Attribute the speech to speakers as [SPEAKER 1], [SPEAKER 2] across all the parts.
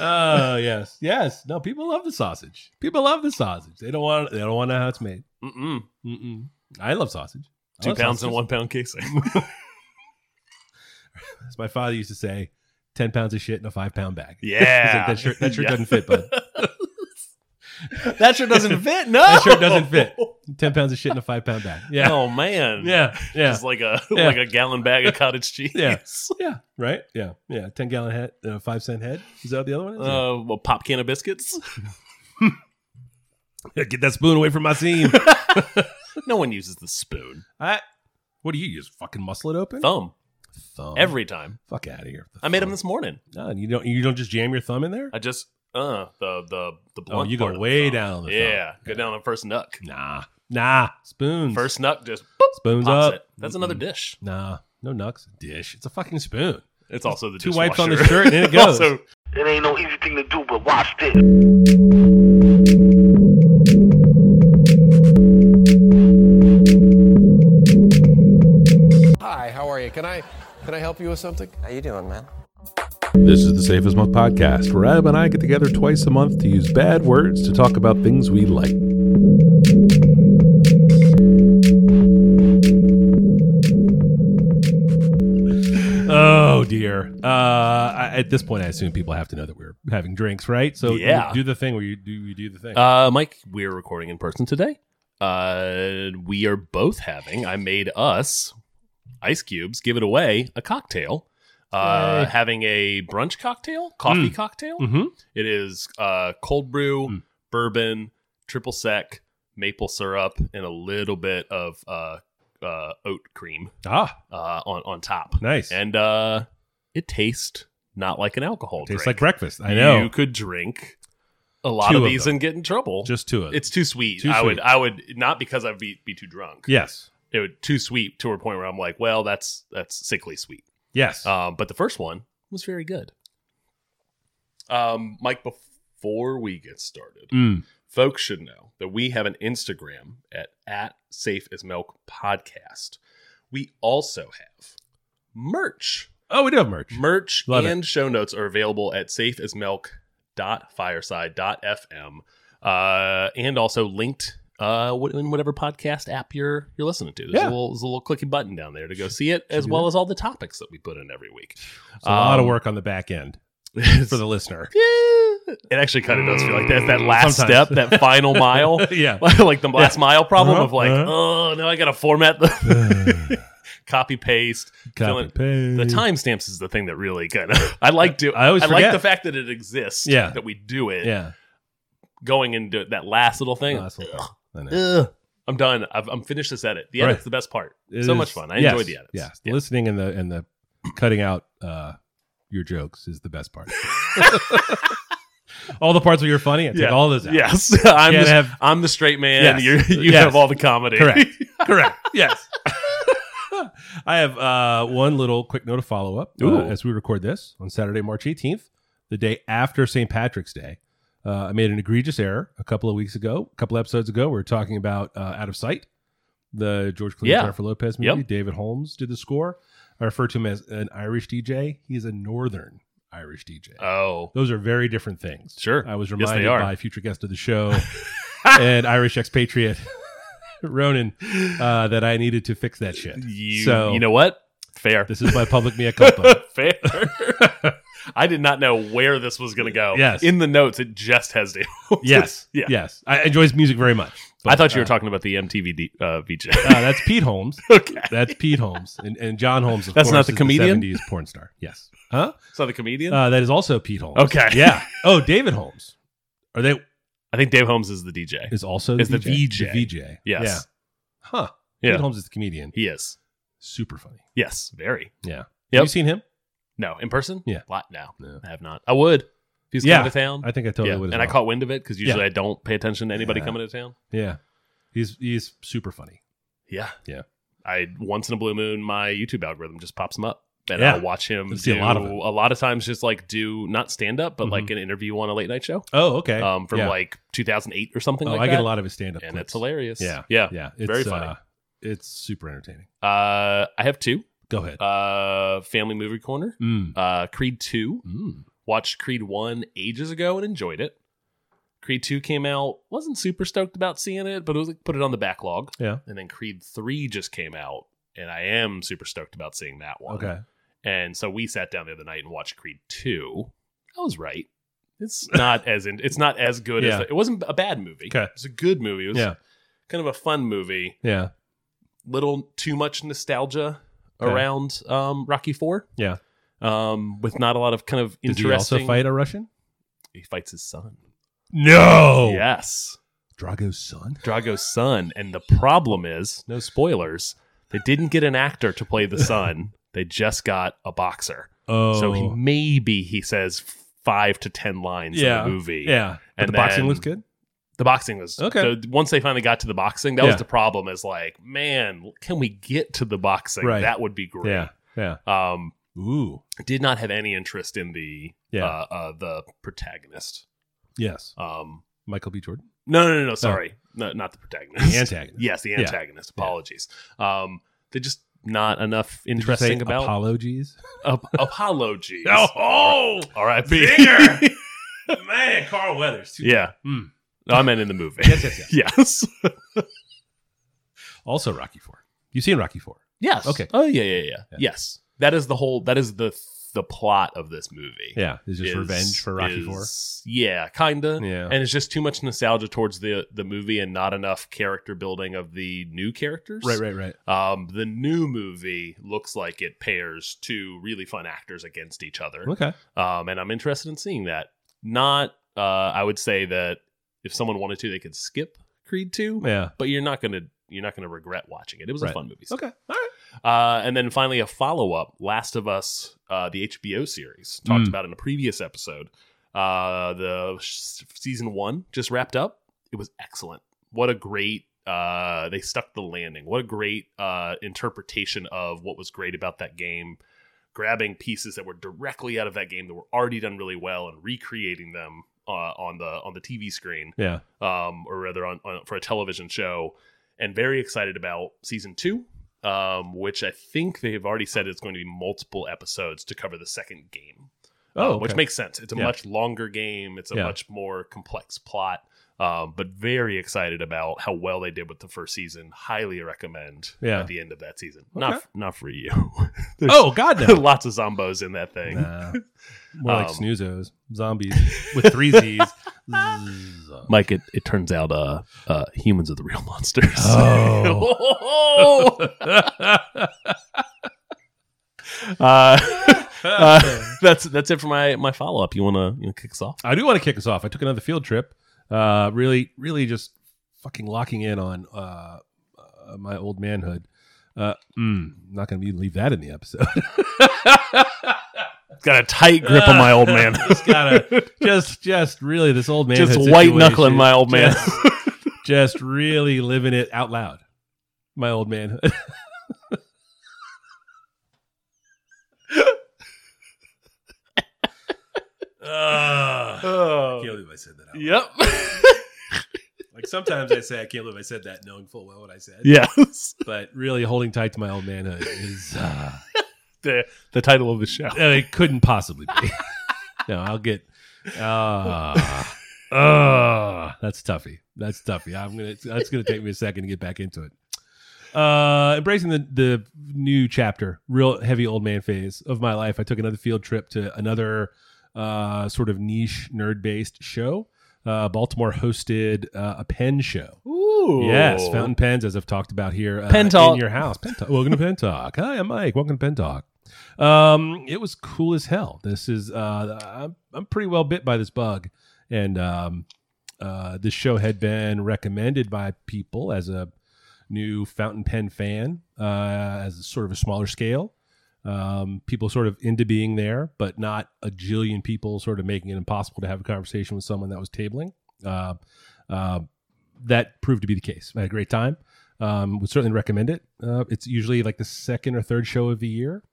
[SPEAKER 1] Oh yes, yes. No, people love the sausage. People love the sausage. They don't want. They don't want to know how it's made. Oh,
[SPEAKER 2] Mm-mm.
[SPEAKER 1] Mm-mm. I love sausage. I
[SPEAKER 2] Two
[SPEAKER 1] love
[SPEAKER 2] pounds
[SPEAKER 1] sausages.
[SPEAKER 2] in one pound casing.
[SPEAKER 1] As my father used to say, ten pounds of shit in a five pound bag. He's
[SPEAKER 2] Yeah.
[SPEAKER 1] like, that shirt. That shirt
[SPEAKER 2] Yeah.
[SPEAKER 1] doesn't fit, bud.
[SPEAKER 2] That shirt doesn't fit. No.
[SPEAKER 1] That shirt doesn't fit. Ten pounds of shit in a five pound bag. Yeah.
[SPEAKER 2] Oh man.
[SPEAKER 1] Yeah. Yeah.
[SPEAKER 2] It's like a
[SPEAKER 1] Yeah.
[SPEAKER 2] like a gallon bag of cottage cheese.
[SPEAKER 1] Yeah. Yeah. Right. Yeah. Yeah. Ten gallon head. Uh, five cent head. Is that what the other one? Is?
[SPEAKER 2] Uh, well, pop can of biscuits.
[SPEAKER 1] Yeah. Get that spoon away from my seam.
[SPEAKER 2] No one uses the spoon.
[SPEAKER 1] I, what do you use? Fucking muscle it open.
[SPEAKER 2] Thumb
[SPEAKER 1] Thumb.
[SPEAKER 2] every time.
[SPEAKER 1] Fuck out of here.
[SPEAKER 2] I made them this morning.
[SPEAKER 1] No, you don't. You don't just jam your thumb in there.
[SPEAKER 2] I just uh the the the
[SPEAKER 1] Oh,
[SPEAKER 2] blunt.
[SPEAKER 1] you go
[SPEAKER 2] part of
[SPEAKER 1] way
[SPEAKER 2] the thumb.
[SPEAKER 1] down. The thumb.
[SPEAKER 2] yeah, go down on first nuck.
[SPEAKER 1] Nah. Nah. Spoons.
[SPEAKER 2] First nuck just
[SPEAKER 1] spoons
[SPEAKER 2] pops
[SPEAKER 1] up.
[SPEAKER 2] it. That's another dish.
[SPEAKER 1] Nah. No nucks. Dish. It's a fucking spoon.
[SPEAKER 2] It's also the
[SPEAKER 1] Two wipes on the
[SPEAKER 2] dishwasher.
[SPEAKER 1] shirt and it goes.
[SPEAKER 2] also,
[SPEAKER 3] It ain't no easy thing to do, but watch this.
[SPEAKER 4] Hi, how are you? Can I can I help you with something?
[SPEAKER 5] How you doing, man?
[SPEAKER 6] This is the Safest Month podcast, where Adam and I get together twice a month to use bad words to talk about things we like.
[SPEAKER 1] Oh dear. Uh, I, at this point, I assume people have to know that we're having drinks, right? So
[SPEAKER 2] Yeah.
[SPEAKER 1] you do the thing where you do you do the thing.
[SPEAKER 2] uh, Mike, we're recording in person today. Uh, we are both having. I made us ice cubes. Give it away. A cocktail. Uh,
[SPEAKER 1] Yay.
[SPEAKER 2] having a brunch cocktail, coffee cocktail.
[SPEAKER 1] Mhm.
[SPEAKER 2] It is uh, cold brew,
[SPEAKER 1] Mm.
[SPEAKER 2] bourbon, triple sec, maple syrup, and a little bit of uh, uh, oat cream
[SPEAKER 1] Ah,
[SPEAKER 2] uh, on on top.
[SPEAKER 1] nice.
[SPEAKER 2] And uh, it tastes not like an alcohol
[SPEAKER 1] Tastes like
[SPEAKER 2] drink.
[SPEAKER 1] breakfast. I know.
[SPEAKER 2] you could drink a lot
[SPEAKER 1] Two
[SPEAKER 2] of
[SPEAKER 1] of
[SPEAKER 2] these
[SPEAKER 1] them.
[SPEAKER 2] and get in trouble.
[SPEAKER 1] Just two of them.
[SPEAKER 2] it's too sweet.
[SPEAKER 1] Too
[SPEAKER 2] I
[SPEAKER 1] sweet.
[SPEAKER 2] would I would not because I'd be, be too drunk.
[SPEAKER 1] yes.
[SPEAKER 2] It would too sweet to a point where I'm like, well, that's that's sickly sweet.
[SPEAKER 1] Yes.
[SPEAKER 2] Um, but the first one was very good. Um, Mike, before we get started,
[SPEAKER 1] Mm.
[SPEAKER 2] folks should know that we have an Instagram at, at Safe as Milk Podcast. We also have merch.
[SPEAKER 1] Oh, we do have merch.
[SPEAKER 2] Merch
[SPEAKER 1] Love it.
[SPEAKER 2] and show notes are available at safeasmilk.fireside.fm uh, and also linked uh, wh- in whatever podcast app you're you're listening to. There's,
[SPEAKER 1] Yeah.
[SPEAKER 2] a, little, there's a little clicky button down there to go see it, as
[SPEAKER 1] do
[SPEAKER 2] well as all the topics that we put in every week.
[SPEAKER 1] It's a lot of
[SPEAKER 2] Um,
[SPEAKER 1] work on the back end for the listener.
[SPEAKER 2] Yeah. It actually kind of does feel like that. That last
[SPEAKER 1] Sometimes.
[SPEAKER 2] step, that final mile,
[SPEAKER 1] yeah.
[SPEAKER 2] like the last mile problem
[SPEAKER 1] Uh-huh,
[SPEAKER 2] of like,
[SPEAKER 1] uh-huh.
[SPEAKER 2] oh, now I got to format the copy paste.
[SPEAKER 1] Copy,
[SPEAKER 2] Feeling-
[SPEAKER 1] paste.
[SPEAKER 2] The timestamps is the thing that really kind of I like to.
[SPEAKER 1] Mm. I always
[SPEAKER 2] like
[SPEAKER 1] forget.
[SPEAKER 2] the fact that it exists.
[SPEAKER 1] Yeah.
[SPEAKER 2] that we do it.
[SPEAKER 1] Yeah.
[SPEAKER 2] going into that last little thing.
[SPEAKER 1] Last little thing. I know.
[SPEAKER 2] Ugh. I'm done. I've, I'm finished this edit. The
[SPEAKER 1] Right.
[SPEAKER 2] edit's the best part.
[SPEAKER 1] It
[SPEAKER 2] so
[SPEAKER 1] is-
[SPEAKER 2] much fun. I
[SPEAKER 1] yes,
[SPEAKER 2] enjoyed the edits.
[SPEAKER 1] Yes. The
[SPEAKER 2] Yeah.
[SPEAKER 1] Listening and the and the cutting out uh, your jokes is the best part. all the parts where you're funny, I take
[SPEAKER 2] Yeah.
[SPEAKER 1] all those out.
[SPEAKER 2] Yes, I'm
[SPEAKER 1] Can't
[SPEAKER 2] the,
[SPEAKER 1] have-
[SPEAKER 2] I'm the straight man.
[SPEAKER 1] Yes.
[SPEAKER 2] You're, you
[SPEAKER 1] Yes.
[SPEAKER 2] have all the comedy.
[SPEAKER 1] Correct. Correct. Yes. I have uh, one little quick note of follow up uh,
[SPEAKER 2] Ooh.
[SPEAKER 1] as we record this on Saturday, March 18th, the day after St. Patrick's Day. Uh, I made an egregious error a couple of weeks ago, a couple episodes ago. We were talking about uh, Out of Sight, the George Clooney
[SPEAKER 2] Yeah.
[SPEAKER 1] Jennifer Lopez movie.
[SPEAKER 2] Yep.
[SPEAKER 1] David Holmes did the score. I refer to him as an Irish DJ. He is a Northern Irish DJ.
[SPEAKER 2] Oh,
[SPEAKER 1] Those are very different things.
[SPEAKER 2] Sure.
[SPEAKER 1] I was
[SPEAKER 2] Yes, they
[SPEAKER 1] reminded
[SPEAKER 2] are.
[SPEAKER 1] by future guest of the show and Irish expatriate Ronan uh, that I needed to fix that shit.
[SPEAKER 2] you
[SPEAKER 1] so
[SPEAKER 2] you know what? Fair.
[SPEAKER 1] this is my public mea culpa.
[SPEAKER 2] Fair. I did not know where this was going to go.
[SPEAKER 1] Yes.
[SPEAKER 2] In the notes, it just has Dale.
[SPEAKER 1] yes,
[SPEAKER 2] Yeah.
[SPEAKER 1] yes. I enjoy his music very much.
[SPEAKER 2] I thought you were
[SPEAKER 1] uh,
[SPEAKER 2] talking about the MTV D, uh, VJ.
[SPEAKER 1] Uh, that's Pete Holmes.
[SPEAKER 2] okay.
[SPEAKER 1] That's Pete Holmes, and, and John Holmes. Of
[SPEAKER 2] That's
[SPEAKER 1] course,
[SPEAKER 2] not the
[SPEAKER 1] is
[SPEAKER 2] comedian?
[SPEAKER 1] '70s porn star. Yes, huh?
[SPEAKER 2] So the comedian?
[SPEAKER 1] Uh, that is also Pete Holmes.
[SPEAKER 2] Okay.
[SPEAKER 1] yeah. Oh, David Holmes. Are they
[SPEAKER 2] I think Dave Holmes is the DJ.
[SPEAKER 1] is also the
[SPEAKER 2] Is the
[SPEAKER 1] VJ?
[SPEAKER 2] VJ.
[SPEAKER 1] The VJ.
[SPEAKER 2] Yes.
[SPEAKER 1] Yeah. Huh.
[SPEAKER 2] Yeah.
[SPEAKER 1] Pete Holmes is the comedian.
[SPEAKER 2] He is.
[SPEAKER 1] Super funny.
[SPEAKER 2] Yes. Very.
[SPEAKER 1] Yeah.
[SPEAKER 2] Yep.
[SPEAKER 1] Have you seen him?
[SPEAKER 2] No. In person?
[SPEAKER 1] Yeah.
[SPEAKER 2] Lot, no.
[SPEAKER 1] No.
[SPEAKER 2] I have not. I would. If he's
[SPEAKER 1] Yeah.
[SPEAKER 2] coming to town.
[SPEAKER 1] I think I totally
[SPEAKER 2] yeah.
[SPEAKER 1] would. as
[SPEAKER 2] And I
[SPEAKER 1] well.
[SPEAKER 2] caught wind of it because usually
[SPEAKER 1] Yeah.
[SPEAKER 2] I don't pay attention to anybody
[SPEAKER 1] Yeah.
[SPEAKER 2] coming to town.
[SPEAKER 1] Yeah, he's he's super funny.
[SPEAKER 2] Yeah.
[SPEAKER 1] Yeah.
[SPEAKER 2] I once in a blue moon, my YouTube algorithm just pops him up. And
[SPEAKER 1] Yeah.
[SPEAKER 2] I'll watch him
[SPEAKER 1] I see a
[SPEAKER 2] do-
[SPEAKER 1] lot of it.
[SPEAKER 2] a lot of times just like do not stand up, but
[SPEAKER 1] Mhm.
[SPEAKER 2] like an interview on a late night show.
[SPEAKER 1] Oh, okay.
[SPEAKER 2] um, from
[SPEAKER 1] yeah.
[SPEAKER 2] like 2008 or something
[SPEAKER 1] oh,
[SPEAKER 2] like
[SPEAKER 1] I
[SPEAKER 2] that.
[SPEAKER 1] get a lot of his stand up,
[SPEAKER 2] and it's hilarious.
[SPEAKER 1] Yeah,
[SPEAKER 2] yeah.
[SPEAKER 1] Yeah, it's,
[SPEAKER 2] Very funny.
[SPEAKER 1] Uh, it's super entertaining.
[SPEAKER 2] Uh, I have two.
[SPEAKER 1] Go ahead.
[SPEAKER 2] Uh, Family Movie Corner,
[SPEAKER 1] mm.
[SPEAKER 2] uh, Creed Two,
[SPEAKER 1] Mm.
[SPEAKER 2] Watched Creed 1 ages ago and enjoyed it. Creed 2 came out, wasn't super stoked about seeing it, but it was like, put it on the backlog.
[SPEAKER 1] Yeah.
[SPEAKER 2] And then Creed 3 just came out, and I am super stoked about seeing that one.
[SPEAKER 1] Okay.
[SPEAKER 2] And so we sat down the other night and watched Creed 2. I was right. It's not as in, it's not as good as
[SPEAKER 1] Yeah.
[SPEAKER 2] it wasn't a bad movie.
[SPEAKER 1] Okay.
[SPEAKER 2] It was a good movie. It was
[SPEAKER 1] Yeah.
[SPEAKER 2] kind of a fun movie.
[SPEAKER 1] Yeah.
[SPEAKER 2] Little too much nostalgia
[SPEAKER 1] Okay.
[SPEAKER 2] around um, Rocky 4.
[SPEAKER 1] Yeah.
[SPEAKER 2] Um, with not a lot of kind of
[SPEAKER 1] Did
[SPEAKER 2] interesting
[SPEAKER 1] he also fight a Russian?
[SPEAKER 2] He fights his son.
[SPEAKER 1] No.
[SPEAKER 2] Yes.
[SPEAKER 1] Drago's son.
[SPEAKER 2] Drago's son. And the problem is, no spoilers, they didn't get an actor to play the son. they just got a boxer.
[SPEAKER 1] Oh.
[SPEAKER 2] So he, maybe he says five to ten lines
[SPEAKER 1] yeah.
[SPEAKER 2] in the movie.
[SPEAKER 1] Yeah. But
[SPEAKER 2] And
[SPEAKER 1] the boxing
[SPEAKER 2] then-
[SPEAKER 1] looks good.
[SPEAKER 2] The boxing was
[SPEAKER 1] Okay.
[SPEAKER 2] So once they finally got to the boxing, that
[SPEAKER 1] Yeah.
[SPEAKER 2] was the problem. Is like, man, can we get to the boxing?
[SPEAKER 1] Right.
[SPEAKER 2] That would be great.
[SPEAKER 1] Yeah. Yeah.
[SPEAKER 2] Um,
[SPEAKER 1] Ooh.
[SPEAKER 2] did not have any interest in the
[SPEAKER 1] Yeah.
[SPEAKER 2] uh, uh, the protagonist.
[SPEAKER 1] Yes.
[SPEAKER 2] Um,
[SPEAKER 1] Michael B. Jordan.
[SPEAKER 2] no, no, no, no. Sorry, no, not the protagonist.
[SPEAKER 1] Oh. The antagonist.
[SPEAKER 2] Yes, the
[SPEAKER 1] Yeah.
[SPEAKER 2] antagonist. Apologies. Um, they're just not enough
[SPEAKER 1] Did you say
[SPEAKER 2] interesting about
[SPEAKER 1] apologies.
[SPEAKER 2] Ap- apologies.
[SPEAKER 1] Oh.
[SPEAKER 2] R.I.P.
[SPEAKER 1] Man, Carl Weathers.
[SPEAKER 2] Yeah.
[SPEAKER 1] Mm.
[SPEAKER 2] No, I meant in the movie.
[SPEAKER 1] Yes, yes, yes.
[SPEAKER 2] yes.
[SPEAKER 1] Also Rocky Four. You've seen Rocky Four.
[SPEAKER 2] Yes.
[SPEAKER 1] Okay.
[SPEAKER 2] Oh yeah, yeah, yeah,
[SPEAKER 1] Yeah.
[SPEAKER 2] Yes. That is the whole. That is the the plot of this movie.
[SPEAKER 1] Yeah. It's just
[SPEAKER 2] Is-
[SPEAKER 1] revenge for Rocky Four.
[SPEAKER 2] is- Yeah, kinda.
[SPEAKER 1] Yeah.
[SPEAKER 2] And it's just too much nostalgia towards the the movie and not enough character building of the new characters.
[SPEAKER 1] Right, right, right.
[SPEAKER 2] Um, the new movie looks like it pairs two really fun actors against each other.
[SPEAKER 1] Okay.
[SPEAKER 2] Um, and I'm interested in seeing that. Not. Uh, I would say that if someone wanted to, they could skip Creed Two.
[SPEAKER 1] Yeah.
[SPEAKER 2] but you're not gonna you're not gonna regret watching it. It was
[SPEAKER 1] Right.
[SPEAKER 2] a fun movie.
[SPEAKER 1] Okay. All right.
[SPEAKER 2] Uh, and then finally a follow up, Last of Us, uh, the HBO series talked
[SPEAKER 1] Mm.
[SPEAKER 2] about in a previous episode. Uh, the sh- season one just wrapped up. It was excellent. What a great uh, they stuck the landing. What a great uh, interpretation of what was great about that game. Grabbing pieces that were directly out of that game that were already done really well and recreating them uh, on the on the TV screen
[SPEAKER 1] Yeah.
[SPEAKER 2] um, or rather on, on for a television show, and very excited about season two, um, which I think they have already said it's going to be multiple episodes to cover the second game.
[SPEAKER 1] Oh,
[SPEAKER 2] uh, which
[SPEAKER 1] okay.
[SPEAKER 2] makes sense. It's a
[SPEAKER 1] Yeah.
[SPEAKER 2] much longer game. It's a
[SPEAKER 1] Yeah.
[SPEAKER 2] much more complex plot. Um, but very excited about how well they did with the first season. Highly recommend
[SPEAKER 1] Yeah.
[SPEAKER 2] at the end of that season.
[SPEAKER 1] Okay.
[SPEAKER 2] Not not for you. There's
[SPEAKER 1] Oh God, no.
[SPEAKER 2] lots of zombos in that thing.
[SPEAKER 1] Nah. More like
[SPEAKER 2] Um,
[SPEAKER 1] snoozos, zombies with three Z's. Zzz.
[SPEAKER 2] Mike, it, it turns out uh, uh, humans are the real monsters.
[SPEAKER 1] Oh.
[SPEAKER 2] uh, uh, that's that's it for my my follow up. You wanna you wanna kick us off?
[SPEAKER 1] I do want to kick us off. I took another field trip. Uh, really, really just fucking locking in on uh, uh, my old manhood. Uh, mm, not going to leave that in the episode.
[SPEAKER 2] Got a tight grip on my old man.
[SPEAKER 1] just gotta, just, just really, this old man.
[SPEAKER 2] Just white knuckling my old man.
[SPEAKER 1] just really living it out loud. My old man.
[SPEAKER 2] Ah.
[SPEAKER 1] I can't believe I said that. Out loud.
[SPEAKER 2] Oh. yep.
[SPEAKER 1] Like sometimes I say I can't believe I said that, knowing full well what I said.
[SPEAKER 2] yes.
[SPEAKER 1] But really holding tight to my old manhood is uh,
[SPEAKER 2] The the title of the show.
[SPEAKER 1] uh, it couldn't possibly be. no, I'll get. Uh, uh, that's toughy. That's toughy. I'm gonna. That's gonna take me a second to get back into it. Uh, embracing the the new chapter, real heavy old man phase of my life. I took another field trip to another uh, sort of niche nerd based show. Uh, Baltimore hosted uh, a pen show.
[SPEAKER 2] Ooh.
[SPEAKER 1] Yes, fountain pens, as I've talked about here. Uh,
[SPEAKER 2] Pen talk.
[SPEAKER 1] in your house. Pen talk. Welcome to Pen Talk. Hi, I'm Mike. Welcome to Pen Talk. Um, it was cool as hell. This is uh, I'm I'm pretty well bit by this bug, and um, uh, this show had been recommended by people as a new fountain pen fan, uh, as a sort of a smaller scale. Um, people sort of into being there, but not a jillion people sort of making it impossible to have a conversation with someone that was tabling. Uh, uh, that proved to be the case. I had a great time. Um, would certainly recommend it. Uh, it's usually like the second or third show of the year.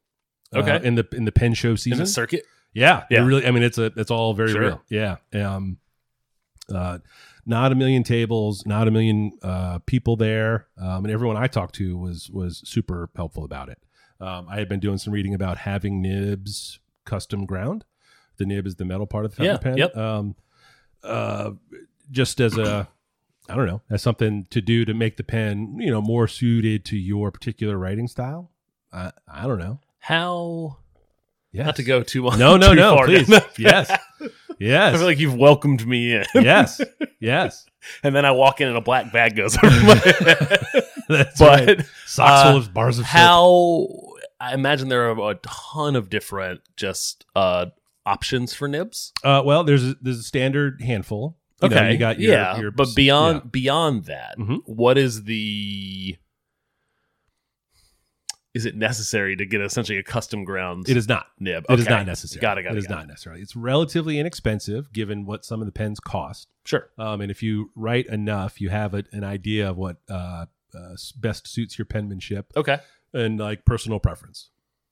[SPEAKER 1] uh,
[SPEAKER 2] Okay.
[SPEAKER 1] in the in the pen show
[SPEAKER 2] in
[SPEAKER 1] season.
[SPEAKER 2] the circuit.
[SPEAKER 1] yeah, yeah.
[SPEAKER 2] Yeah.
[SPEAKER 1] really, I mean, it's a it's all very
[SPEAKER 2] Sure.
[SPEAKER 1] real. Yeah. Um, uh, not a million tables, not a million uh, people there, um, and everyone I talked to was was super helpful about it. Um, I had been doing some reading about having nibs custom ground the nib is the metal part of the fountain
[SPEAKER 2] Yeah,
[SPEAKER 1] pen.
[SPEAKER 2] yep.
[SPEAKER 1] Um, uh, just as a, I don't know, as something to do to make the pen, you know, more suited to your particular writing style. I, I don't know.
[SPEAKER 2] How
[SPEAKER 1] Yes.
[SPEAKER 2] not to go too much.
[SPEAKER 1] No, no,
[SPEAKER 2] too
[SPEAKER 1] no.
[SPEAKER 2] far down
[SPEAKER 1] Please. yes.
[SPEAKER 2] I
[SPEAKER 1] Yes.
[SPEAKER 2] feel like you've welcomed me in,
[SPEAKER 1] yes. Yes.
[SPEAKER 2] and then I walk in and a black bag goes over my head.
[SPEAKER 1] That's
[SPEAKER 2] But
[SPEAKER 1] right. Socks
[SPEAKER 2] uh,
[SPEAKER 1] full of bars of soap.
[SPEAKER 2] how I imagine there are a ton of different just uh options for nibs.
[SPEAKER 1] Uh, well, there's a, there's a standard handful. You know, you got your,
[SPEAKER 2] yeah,
[SPEAKER 1] your-
[SPEAKER 2] but beyond beyond that,
[SPEAKER 1] Mhm.
[SPEAKER 2] what is the is it necessary to get essentially a custom grounds
[SPEAKER 1] yeah. it is not.
[SPEAKER 2] nib?
[SPEAKER 1] It is
[SPEAKER 2] Okay.
[SPEAKER 1] not necessary.
[SPEAKER 2] Got it. Got it.
[SPEAKER 1] It is
[SPEAKER 2] got it.
[SPEAKER 1] not necessary. It's relatively inexpensive given what some of the pens cost.
[SPEAKER 2] Sure.
[SPEAKER 1] Um, and if you write enough, you have a, an idea of what uh, uh, s- best suits your penmanship
[SPEAKER 2] Okay.
[SPEAKER 1] and like personal preference,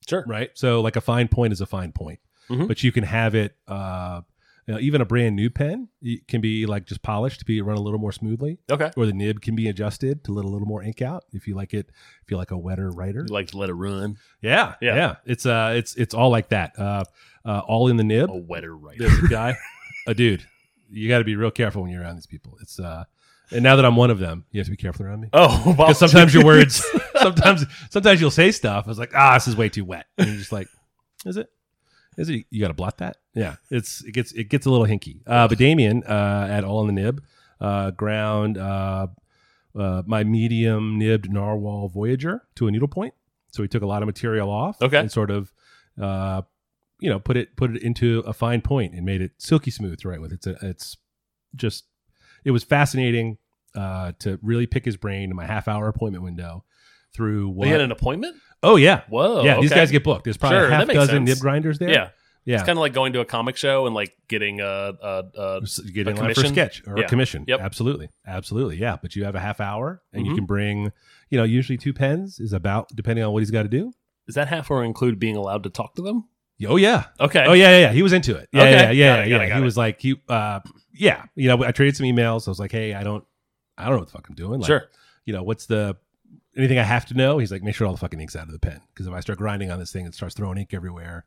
[SPEAKER 2] Sure.
[SPEAKER 1] right? So like a fine point is a fine point,
[SPEAKER 2] Mhm.
[SPEAKER 1] but you can have it. Uh, you know, even a brand new pen it can be like just polished to be run a little more smoothly,
[SPEAKER 2] Okay.
[SPEAKER 1] or the nib can be adjusted to let a little more ink out if you like it. If you like a wetter writer,
[SPEAKER 2] You like to let it run.
[SPEAKER 1] yeah, yeah,
[SPEAKER 2] Yeah.
[SPEAKER 1] It's uh, it's it's all like that. Uh, uh all in the nib.
[SPEAKER 2] A wetter writer.
[SPEAKER 1] There's a guy, a dude. You got to be real careful when you're around these people. It's uh, and now that I'm one of them, you have to be careful around me
[SPEAKER 2] Oh, wow.
[SPEAKER 1] because sometimes your words, sometimes sometimes you'll say stuff. I was like, ah, this is way too wet. And you're just like, is it? Is it? You got to blot that? Yeah, it's it gets it gets a little hinky. Uh, but Damien uh, at all in the nib uh, ground uh, uh, my medium nibbed narwhal voyager to a needle point. So he took a lot of material off.
[SPEAKER 2] Okay.
[SPEAKER 1] and sort of. Uh, you know, put it put it into a fine point and made it silky smooth to write with. It's a, it's just it was fascinating uh, to really pick his brain in my half hour appointment window through what.
[SPEAKER 2] They had an appointment.
[SPEAKER 1] oh yeah,
[SPEAKER 2] Whoa.
[SPEAKER 1] yeah. These
[SPEAKER 2] okay.
[SPEAKER 1] guys get booked. There's probably
[SPEAKER 2] Sure,
[SPEAKER 1] a
[SPEAKER 2] that
[SPEAKER 1] half
[SPEAKER 2] makes
[SPEAKER 1] dozen
[SPEAKER 2] sense.
[SPEAKER 1] nib grinders there.
[SPEAKER 2] Yeah.
[SPEAKER 1] yeah.
[SPEAKER 2] It's kind of like going to a comic show and like getting a a, a
[SPEAKER 1] So you get
[SPEAKER 2] a
[SPEAKER 1] in line for a
[SPEAKER 2] commission?
[SPEAKER 1] sketch or a
[SPEAKER 2] Yeah.
[SPEAKER 1] commission.
[SPEAKER 2] Yep.
[SPEAKER 1] Absolutely. Absolutely. Yeah. But you have a half hour and you
[SPEAKER 2] Mhm.
[SPEAKER 1] can bring, you know, usually two pens is about, depending on what he's got to do.
[SPEAKER 2] Does that half or include being allowed to talk to them?
[SPEAKER 1] Oh, yeah.
[SPEAKER 2] Okay.
[SPEAKER 1] Oh yeah, yeah, yeah. He was into it. Yeah,
[SPEAKER 2] Okay.
[SPEAKER 1] yeah, yeah,
[SPEAKER 2] Got it,
[SPEAKER 1] yeah.
[SPEAKER 2] got it,
[SPEAKER 1] yeah.
[SPEAKER 2] got
[SPEAKER 1] He
[SPEAKER 2] it.
[SPEAKER 1] was like, he, uh, yeah. You know, I traded some emails. I was like, hey, I don't, I don't know what the fuck I'm doing. Like,
[SPEAKER 2] Sure.
[SPEAKER 1] You know, what's the anything I have to know? He's like, make sure all the fucking ink's out of the pen because if I start grinding on this thing, it starts throwing ink everywhere.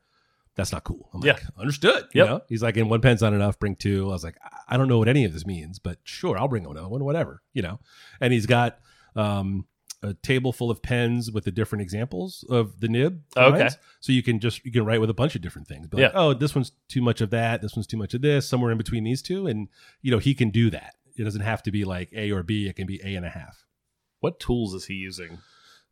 [SPEAKER 1] That's not cool. I'm like, understood. You
[SPEAKER 2] Yep.
[SPEAKER 1] know? He's like, and one pen's not enough. Bring two. I was like, I- I don't know what any of this means, but sure, I'll bring another one, whatever. You know, and he's got um, a table full of pens with the different examples of the nib.
[SPEAKER 2] Okay.
[SPEAKER 1] lines. So you can just you can write with a bunch of different things. Be like,
[SPEAKER 2] Yeah.
[SPEAKER 1] oh, this one's too much of that. This one's too much of this. Somewhere in between these two, and you know he can do that. It doesn't have to be like A or B. It can be A and a half.
[SPEAKER 2] What tools is he using?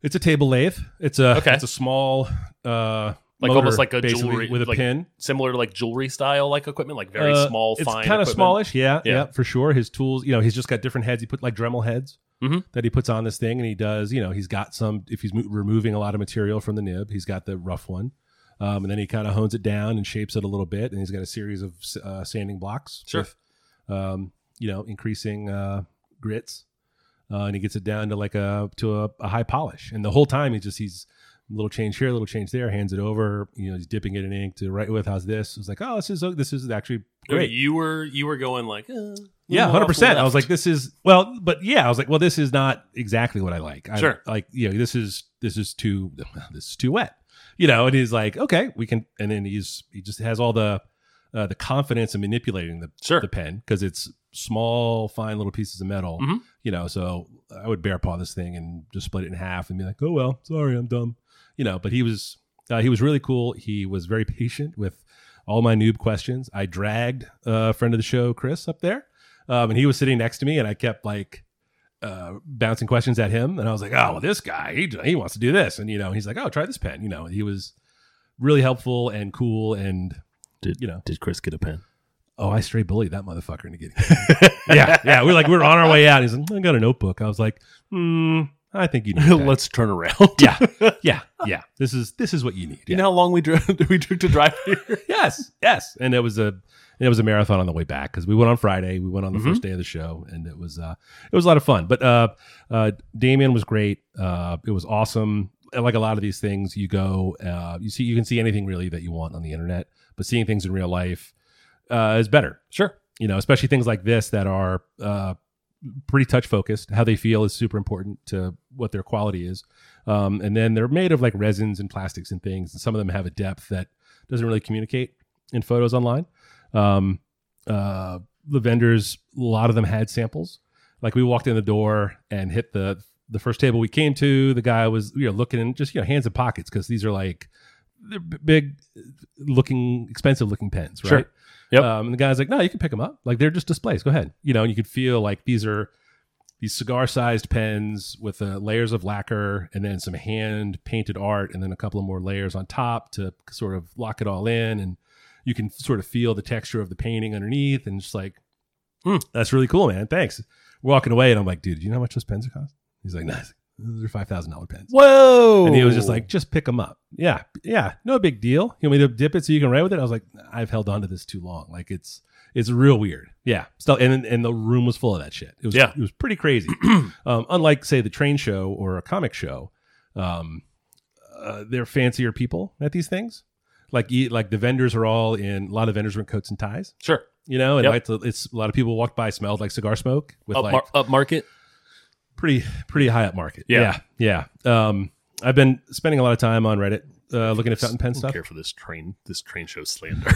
[SPEAKER 1] It's a table lathe. It's a
[SPEAKER 2] Okay.
[SPEAKER 1] it's a small uh
[SPEAKER 2] Like
[SPEAKER 1] motor,
[SPEAKER 2] almost like a
[SPEAKER 1] basically,
[SPEAKER 2] jewelry-
[SPEAKER 1] with a
[SPEAKER 2] like
[SPEAKER 1] pin.
[SPEAKER 2] Similar to like jewelry style like equipment, like very
[SPEAKER 1] Uh,
[SPEAKER 2] small,
[SPEAKER 1] It's
[SPEAKER 2] fine.
[SPEAKER 1] kind of
[SPEAKER 2] equipment?
[SPEAKER 1] smallish, yeah, yeah,
[SPEAKER 2] Yeah.
[SPEAKER 1] for sure. His tools, you know, he's just got different heads. He put like Dremel heads
[SPEAKER 2] Mhm.
[SPEAKER 1] that he puts on this thing, and he does, you know, he's got some. If he's mo- removing a lot of material from the nib, he's got the rough one, um, and then he kind of hones it down and shapes it a little bit, and he's got a series of s- uh, sanding blocks,
[SPEAKER 2] Sure.
[SPEAKER 1] with, um, you know, increasing uh, grits, uh, and he gets it down to like a to a, a high polish, and the whole time he just he's little change here, little change there, hands it over. You know, he's dipping it in ink to write with. How's this? It's like, oh, this is this is actually great.
[SPEAKER 2] You were you were going like uh,
[SPEAKER 1] Yeah,
[SPEAKER 2] little
[SPEAKER 1] hundred percent.
[SPEAKER 2] off
[SPEAKER 1] I was like,
[SPEAKER 2] left.
[SPEAKER 1] this is well, but yeah, I was like, well, this is not exactly what I like. I,
[SPEAKER 2] Sure.
[SPEAKER 1] like you know, this is this is too this is too wet. You know, and he's like, okay, we can, and then he's he just has all the uh, the confidence in manipulating the
[SPEAKER 2] Sure.
[SPEAKER 1] the pen because it's small, fine little pieces of metal.
[SPEAKER 2] Mhm.
[SPEAKER 1] You know, so I would bear paw this thing and just split it in half and be like, oh well, sorry, I'm dumb. You know, but he was uh, he was really cool. He was very patient with all my noob questions. I dragged uh, a friend of the show, Chris, up there, um, and he was sitting next to me, and I kept like uh, bouncing questions at him, and I was like, "Oh, well, this guy, he he wants to do this," and you know, he's like, "Oh, try this pen." You know, he was really helpful and cool, and
[SPEAKER 2] Did-
[SPEAKER 1] you know,
[SPEAKER 2] Did Chris get a pen?
[SPEAKER 1] oh, I straight bullied that motherfucker into getting. yeah, yeah, we we're like we we're on our way out. He's like, "I got a notebook." I was like, "Hmm, I think you need that."
[SPEAKER 2] Let's turn around.
[SPEAKER 1] yeah, yeah, yeah. This is this is what you need.
[SPEAKER 2] You
[SPEAKER 1] Yeah.
[SPEAKER 2] know how long we drove we took to drive here?
[SPEAKER 1] yes, yes. And it was a and it was a marathon on the way back because we went on Friday. We went on the
[SPEAKER 2] Mhm.
[SPEAKER 1] first day of the show, and it was uh, it was a lot of fun. But uh, uh, Damien was great. Uh, it was awesome. And Like a lot of these things, you go, uh, you see, you can see anything really that you want on the internet, but seeing things in real life uh, is better.
[SPEAKER 2] Sure.
[SPEAKER 1] You know, especially things like this that are uh, pretty touch focused. How they feel is super important to what their quality is. Um, and then they're made of like resins and plastics and things, and some of them have a depth that doesn't really communicate and photos online. Um, uh, the vendors, a lot of them had samples. Like we walked in the door and hit the the first table we came to. The guy was you know looking in just you know hands in pockets because these are like they're b- big looking expensive looking pens, right?
[SPEAKER 2] Sure. Yep.
[SPEAKER 1] Um, and the guy's like, no, you can pick them up. Like they're just displays. Go ahead. You know, and you could feel like these are these cigar sized pens with uh, layers of lacquer and then some hand painted art and then a couple of more layers on top to sort of lock it all in. And you can sort of feel the texture of the painting underneath and just like,
[SPEAKER 2] Hmm.
[SPEAKER 1] that's really cool, man. Thanks. Walking away. And I'm like, dude, do you know how much those pens cost? He's like, nah, those are $5,000 pens.
[SPEAKER 2] Whoa!
[SPEAKER 1] And he was just like, just pick them up. Yeah, yeah, no big deal. You want me to dip it so you can write with it? I was like, I've held on to this too long. Like it's it's real weird. Yeah, still, and and the room was full of that shit. It was
[SPEAKER 2] Yeah.
[SPEAKER 1] it was pretty crazy. um, unlike say the train show or a comic show, um, uh, they're fancier people at these things. Like you, like the vendors are all in. A lot of vendors were in coats and ties.
[SPEAKER 2] sure.
[SPEAKER 1] You know, and
[SPEAKER 2] Yep.
[SPEAKER 1] like the, it's a lot of people walked by smelled like cigar smoke with
[SPEAKER 2] Up,
[SPEAKER 1] like
[SPEAKER 2] mar- up market.
[SPEAKER 1] pretty pretty high up market.
[SPEAKER 2] Yeah.
[SPEAKER 1] yeah. yeah. Um, I've been spending a lot of time on Reddit uh, looking at fountain pen
[SPEAKER 2] Don't
[SPEAKER 1] stuff.
[SPEAKER 2] Care for this train? This train show slander.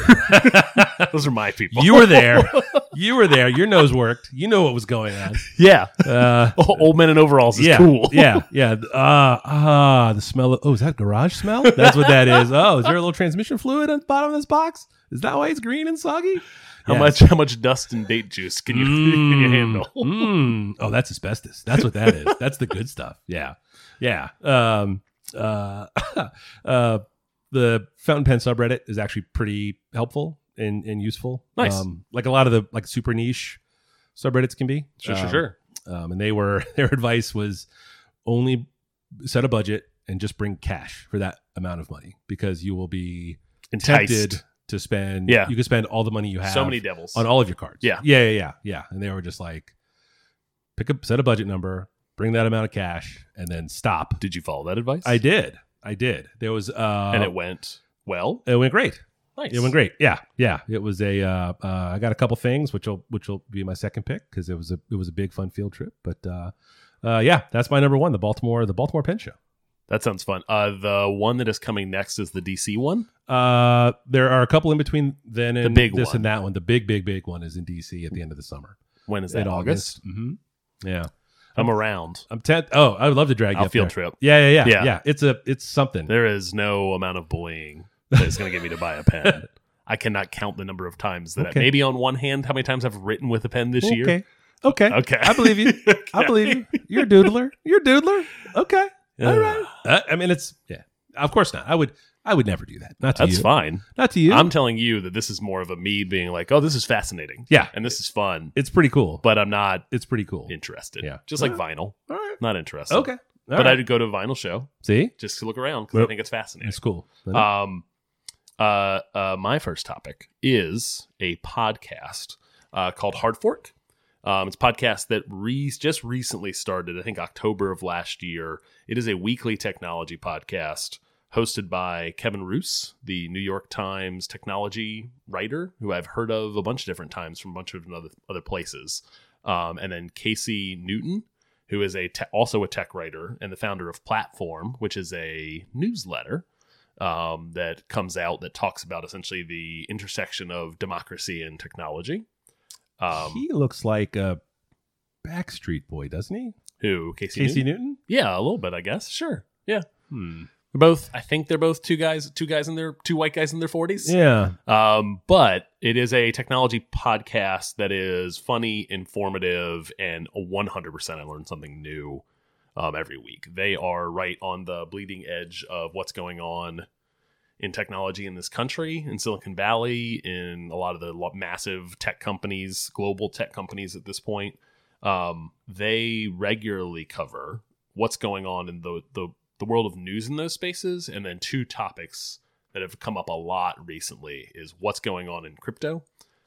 [SPEAKER 2] Those are my people.
[SPEAKER 1] You were there. you were there. Your nose worked. You know what was going on.
[SPEAKER 2] yeah.
[SPEAKER 1] Uh,
[SPEAKER 2] Old men in overalls is
[SPEAKER 1] yeah,
[SPEAKER 2] cool.
[SPEAKER 1] yeah, yeah. Ah, ah, the smell of oh, is that garage smell? That's what that is. Oh, is there a little transmission fluid on the bottom of this box? Is that why it's green and soggy?
[SPEAKER 2] How
[SPEAKER 1] Yeah.
[SPEAKER 2] much? How much dust and date juice can you, can you handle?
[SPEAKER 1] Mm. Oh, that's asbestos. That's what that is. That's the good stuff. Yeah. Yeah. Um, uh, uh, the fountain pen subreddit is actually pretty helpful and, and useful.
[SPEAKER 2] Nice.
[SPEAKER 1] Um, like a lot of the like super niche subreddits can be.
[SPEAKER 2] Sure, sure,
[SPEAKER 1] Um,
[SPEAKER 2] sure.
[SPEAKER 1] Um, and they were, their advice was only set a budget and just bring cash for that amount of money because you will be tempted
[SPEAKER 2] Enticed.
[SPEAKER 1] to spend.
[SPEAKER 2] Yeah.
[SPEAKER 1] You can spend all the money you have
[SPEAKER 2] So many devils.
[SPEAKER 1] on all of your cards.
[SPEAKER 2] Yeah.
[SPEAKER 1] yeah, yeah, yeah, yeah. And they were just like, pick up, set a budget number, bring that amount of cash, and then stop.
[SPEAKER 2] Did you follow that advice?
[SPEAKER 1] I did, I did. There was, uh,
[SPEAKER 2] and it went well.
[SPEAKER 1] it went great.
[SPEAKER 2] Nice.
[SPEAKER 1] It went great. Yeah, yeah. It was a. Uh, uh, I got a couple things, which will which will be my second pick because it was a it was a big fun field trip. But uh, uh, yeah, that's my number one. The Baltimore the Baltimore Pen Show.
[SPEAKER 2] That sounds fun. Uh, the one that is coming next is the DC one.
[SPEAKER 1] Uh, there are a couple in between then and
[SPEAKER 2] big
[SPEAKER 1] this
[SPEAKER 2] one.
[SPEAKER 1] and that one. The big big big one is in D.C. at the end of the summer
[SPEAKER 2] When is that?
[SPEAKER 1] in
[SPEAKER 2] August. Mm-hmm.
[SPEAKER 1] August. hmm Yeah.
[SPEAKER 2] I'm around.
[SPEAKER 1] I'm tenth. Oh, I would love to drag you
[SPEAKER 2] I'll
[SPEAKER 1] up
[SPEAKER 2] field
[SPEAKER 1] there.
[SPEAKER 2] trip.
[SPEAKER 1] Yeah, yeah, yeah, yeah,
[SPEAKER 2] Yeah.
[SPEAKER 1] It's a it's something.
[SPEAKER 2] There is no amount of bullying that is going to get me to buy a pen. I cannot count the number of times that
[SPEAKER 1] Okay.
[SPEAKER 2] I, maybe on one hand how many times I've written with a pen this year.
[SPEAKER 1] okay, okay,
[SPEAKER 2] Okay.
[SPEAKER 1] I believe you. I believe you. You're a doodler. You're a doodler. Okay, all right. Uh, I mean, it's yeah. Of course not. I would I would never do that. Not to
[SPEAKER 2] That's
[SPEAKER 1] you.
[SPEAKER 2] fine.
[SPEAKER 1] Not to you.
[SPEAKER 2] I'm telling you that this is more of a me being like, oh, this is fascinating.
[SPEAKER 1] Yeah.
[SPEAKER 2] And this is fun,
[SPEAKER 1] it's pretty cool.
[SPEAKER 2] but I'm not
[SPEAKER 1] it's pretty cool.
[SPEAKER 2] interested.
[SPEAKER 1] Yeah.
[SPEAKER 2] Just like vinyl.
[SPEAKER 1] All right.
[SPEAKER 2] Not interested.
[SPEAKER 1] Okay. All
[SPEAKER 2] but
[SPEAKER 1] right.
[SPEAKER 2] I'd go to a vinyl show
[SPEAKER 1] see.
[SPEAKER 2] just to look around because
[SPEAKER 1] Well,
[SPEAKER 2] I think it's fascinating.
[SPEAKER 1] It's cool.
[SPEAKER 2] Um, uh, uh, my first topic is a podcast uh, called Hard Fork. Um, it's a podcast that re- just recently started, I think October of last year. It is a weekly technology podcast hosted by Kevin Roos, the New York Times technology writer, who I've heard of a bunch of different times from a bunch of other, other places. Um, and then Casey Newton, who is a te- also a tech writer and the founder of Platform, which is a newsletter um, that comes out that talks about essentially the intersection of democracy and technology. Um,
[SPEAKER 1] he looks like a Backstreet Boy, doesn't he?
[SPEAKER 2] who Casey?
[SPEAKER 1] Casey
[SPEAKER 2] Newton?
[SPEAKER 1] Newton.
[SPEAKER 2] Yeah, a little bit, I guess. Sure. Yeah,
[SPEAKER 1] Hmm.
[SPEAKER 2] they're both. I think they're both two guys, two guys in their two white guys in their forties.
[SPEAKER 1] Yeah.
[SPEAKER 2] Um, but it is a technology podcast that is funny, informative, and 100% I learn something new um, every week. They are right on the bleeding edge of what's going on in technology in this country, in Silicon Valley, in a lot of the lo- massive tech companies, global tech companies at this point. Um, they regularly cover what's going on in the, the, the world of news in those spaces, and then two topics that have come up a lot recently is what's going on in crypto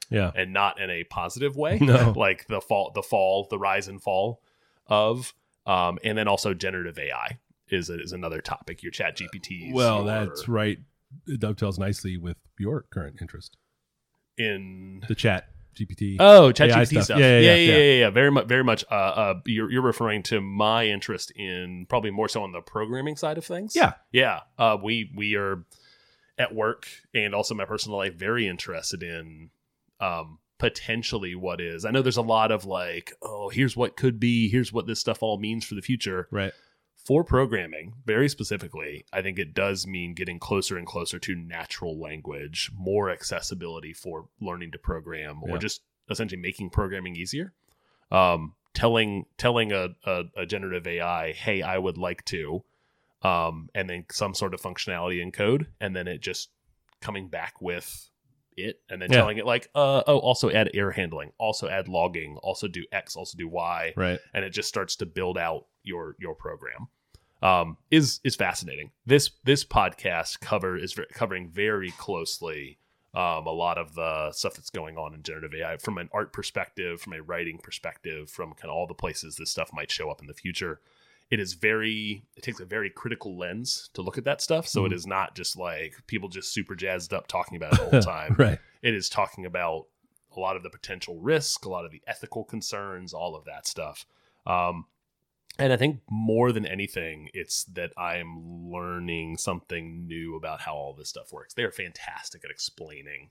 [SPEAKER 1] Yeah.
[SPEAKER 2] and not in a positive way
[SPEAKER 1] No.
[SPEAKER 2] like the fall the fall the rise and fall of um and then also generative ai is is another topic your chat gpts
[SPEAKER 1] Uh, Well,
[SPEAKER 2] your-
[SPEAKER 1] that's right. It dovetails nicely with your current interest,
[SPEAKER 2] in
[SPEAKER 1] the chat GPT.
[SPEAKER 2] Oh, ChatGPT
[SPEAKER 1] AI
[SPEAKER 2] stuff.
[SPEAKER 1] stuff. Yeah, yeah, yeah,
[SPEAKER 2] yeah,
[SPEAKER 1] yeah.
[SPEAKER 2] yeah, yeah. Very much, very much. Uh, uh, you're you're referring to my interest in probably more so on the programming side of things.
[SPEAKER 1] Yeah.
[SPEAKER 2] yeah. Uh, we we are at work and also my personal life very interested in um potentially what is. I know there's a lot of like, oh, here's what could be, here's what this stuff all means for the future.
[SPEAKER 1] Right.
[SPEAKER 2] For programming, very specifically, I think it does mean getting closer and closer to natural language, more accessibility for learning to program, or
[SPEAKER 1] Yeah.
[SPEAKER 2] just essentially making programming easier. Um, telling telling a, a, a generative AI, hey, I would like to, um, and then some sort of functionality in code, and then it just coming back with it, and then
[SPEAKER 1] Yeah.
[SPEAKER 2] telling it like, uh, oh, also add error handling, also add logging, also do X, also do Y,
[SPEAKER 1] Right.
[SPEAKER 2] and it just starts to build out your your program um, is is fascinating. This this podcast cover is ver- covering very closely um, a lot of the stuff that's going on in generative AI from an art perspective, from a writing perspective, from kind of all the places this stuff might show up in the future. It is very it takes a very critical lens to look at that stuff, so it is not just like people just super jazzed up talking about it all the time
[SPEAKER 1] Right.
[SPEAKER 2] it is talking about a lot of the potential risk, a lot of the ethical concerns, all of that stuff. Um, and I think more than anything, it's that I'm learning something new about how all this stuff works. They're fantastic at explaining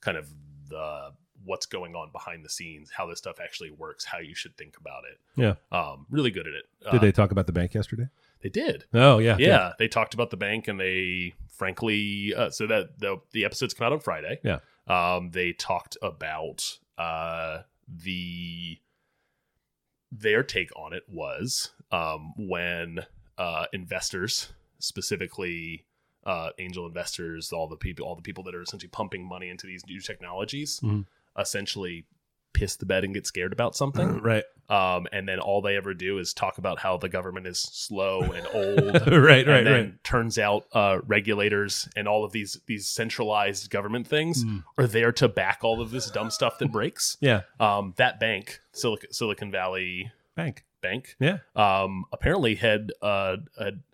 [SPEAKER 2] kind of the what's going on behind the scenes, how this stuff actually works, how you should think about it.
[SPEAKER 1] Yeah.
[SPEAKER 2] Um, really good at it. Uh,
[SPEAKER 1] Did they talk about the bank yesterday?
[SPEAKER 2] They did
[SPEAKER 1] Oh yeah.
[SPEAKER 2] yeah, they talked about the bank and they frankly uh, so that the the episodes come out on Friday.
[SPEAKER 1] Yeah.
[SPEAKER 2] Um they talked about uh the their take on it was um when uh investors specifically uh angel investors all the people all the people that are essentially pumping money into these new technologies
[SPEAKER 1] Mhm.
[SPEAKER 2] essentially piss the bed and get scared about something
[SPEAKER 1] Right.
[SPEAKER 2] um, and then all they ever do is talk about how the government is slow and old.
[SPEAKER 1] right. Right.
[SPEAKER 2] and then
[SPEAKER 1] right.
[SPEAKER 2] turns out uh, regulators and all of these these centralized government things
[SPEAKER 1] Mm.
[SPEAKER 2] are there to back all of this dumb stuff that breaks.
[SPEAKER 1] Yeah.
[SPEAKER 2] Um, that bank, Silicon, Silicon Valley
[SPEAKER 1] Bank.
[SPEAKER 2] Bank,
[SPEAKER 1] Yeah.
[SPEAKER 2] um, apparently had uh, had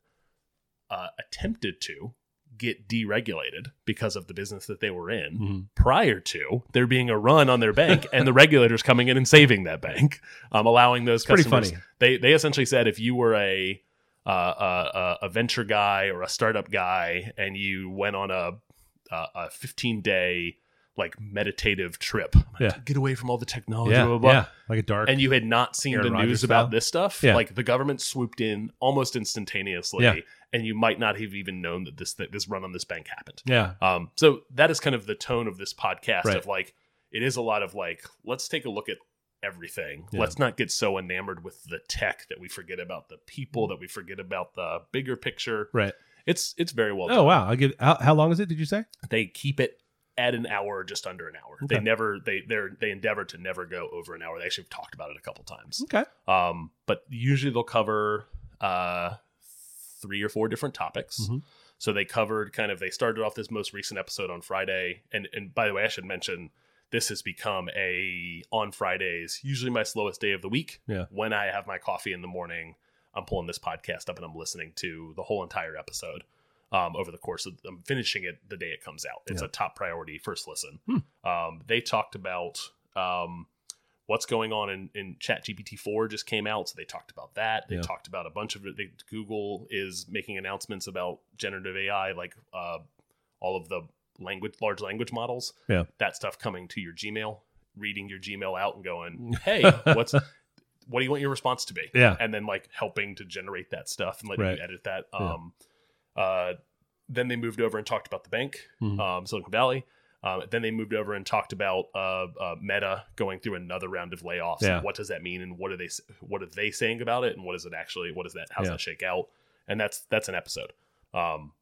[SPEAKER 2] uh, attempted to get deregulated because of the business that they were in
[SPEAKER 1] Mhm.
[SPEAKER 2] prior to there being a run on their bank and the regulators coming in and saving that bank, um, allowing those
[SPEAKER 1] pretty
[SPEAKER 2] customers.
[SPEAKER 1] funny.
[SPEAKER 2] They they essentially said if you were a uh, a, a a venture guy or a startup guy and you went on a a- a 15 day like meditative trip,
[SPEAKER 1] Yeah.
[SPEAKER 2] get away from all the technology,
[SPEAKER 1] Oh, Yeah.
[SPEAKER 2] blah, blah, blah.
[SPEAKER 1] Yeah. Like a dark.
[SPEAKER 2] And you had not seen
[SPEAKER 1] Aaron
[SPEAKER 2] the
[SPEAKER 1] Rodgers
[SPEAKER 2] news
[SPEAKER 1] style?
[SPEAKER 2] about this stuff.
[SPEAKER 1] Yeah.
[SPEAKER 2] Like the government swooped in almost instantaneously,
[SPEAKER 1] Yeah.
[SPEAKER 2] and you might not have even known that this that this run on this bank happened.
[SPEAKER 1] yeah.
[SPEAKER 2] Um, so that is kind of the tone of this podcast
[SPEAKER 1] Right.
[SPEAKER 2] of like it is a lot of like let's take a look at everything.
[SPEAKER 1] Yeah.
[SPEAKER 2] Let's not get so enamored with the tech that we forget about the people that we forget about the bigger picture.
[SPEAKER 1] Right.
[SPEAKER 2] It's it's very well
[SPEAKER 1] Oh wow. I give. How, how long is it? Did you say?
[SPEAKER 2] done. They keep it at an hour, just under an hour. They
[SPEAKER 1] Okay.
[SPEAKER 2] never they they are they endeavor to never go over an hour. They actually have talked about it a couple times.
[SPEAKER 1] Okay.
[SPEAKER 2] Um, but usually they'll cover uh, three or four different topics.
[SPEAKER 1] Mhm.
[SPEAKER 2] So they covered kind of they started off this most recent episode on Friday, and and by the way, I should mention this has become a on Fridays usually my slowest day of the week.
[SPEAKER 1] Yeah.
[SPEAKER 2] when I have my coffee in the morning, I'm pulling this podcast up and I'm listening to the whole entire episode. Um, over the course of I'm finishing it the day it comes out. It's
[SPEAKER 1] Yeah.
[SPEAKER 2] a top priority first listen.
[SPEAKER 1] Hmm.
[SPEAKER 2] Um, they talked about um, what's going on in, in chat gpt 4 just came out so they talked about that they
[SPEAKER 1] Yeah.
[SPEAKER 2] talked about a bunch of it they, google is making announcements about generative ai like uh, all of the language large language models
[SPEAKER 1] Yeah.
[SPEAKER 2] that stuff coming to your gmail reading your gmail out and going hey what's what do you want your response to be
[SPEAKER 1] Yeah.
[SPEAKER 2] and then like helping to generate that stuff and letting
[SPEAKER 1] Right.
[SPEAKER 2] you edit that
[SPEAKER 1] Yeah.
[SPEAKER 2] um uh then they moved over and talked about the bank
[SPEAKER 1] Mhm.
[SPEAKER 2] um silicon valley um, then they moved over and talked about uh, uh, Meta going through another round of layoffs.
[SPEAKER 1] Yeah.
[SPEAKER 2] What does that mean, and what are they what are they saying about it, and what is it actually? What is that? How does
[SPEAKER 1] Yeah.
[SPEAKER 2] that shake out? And that's that's an episode. Um,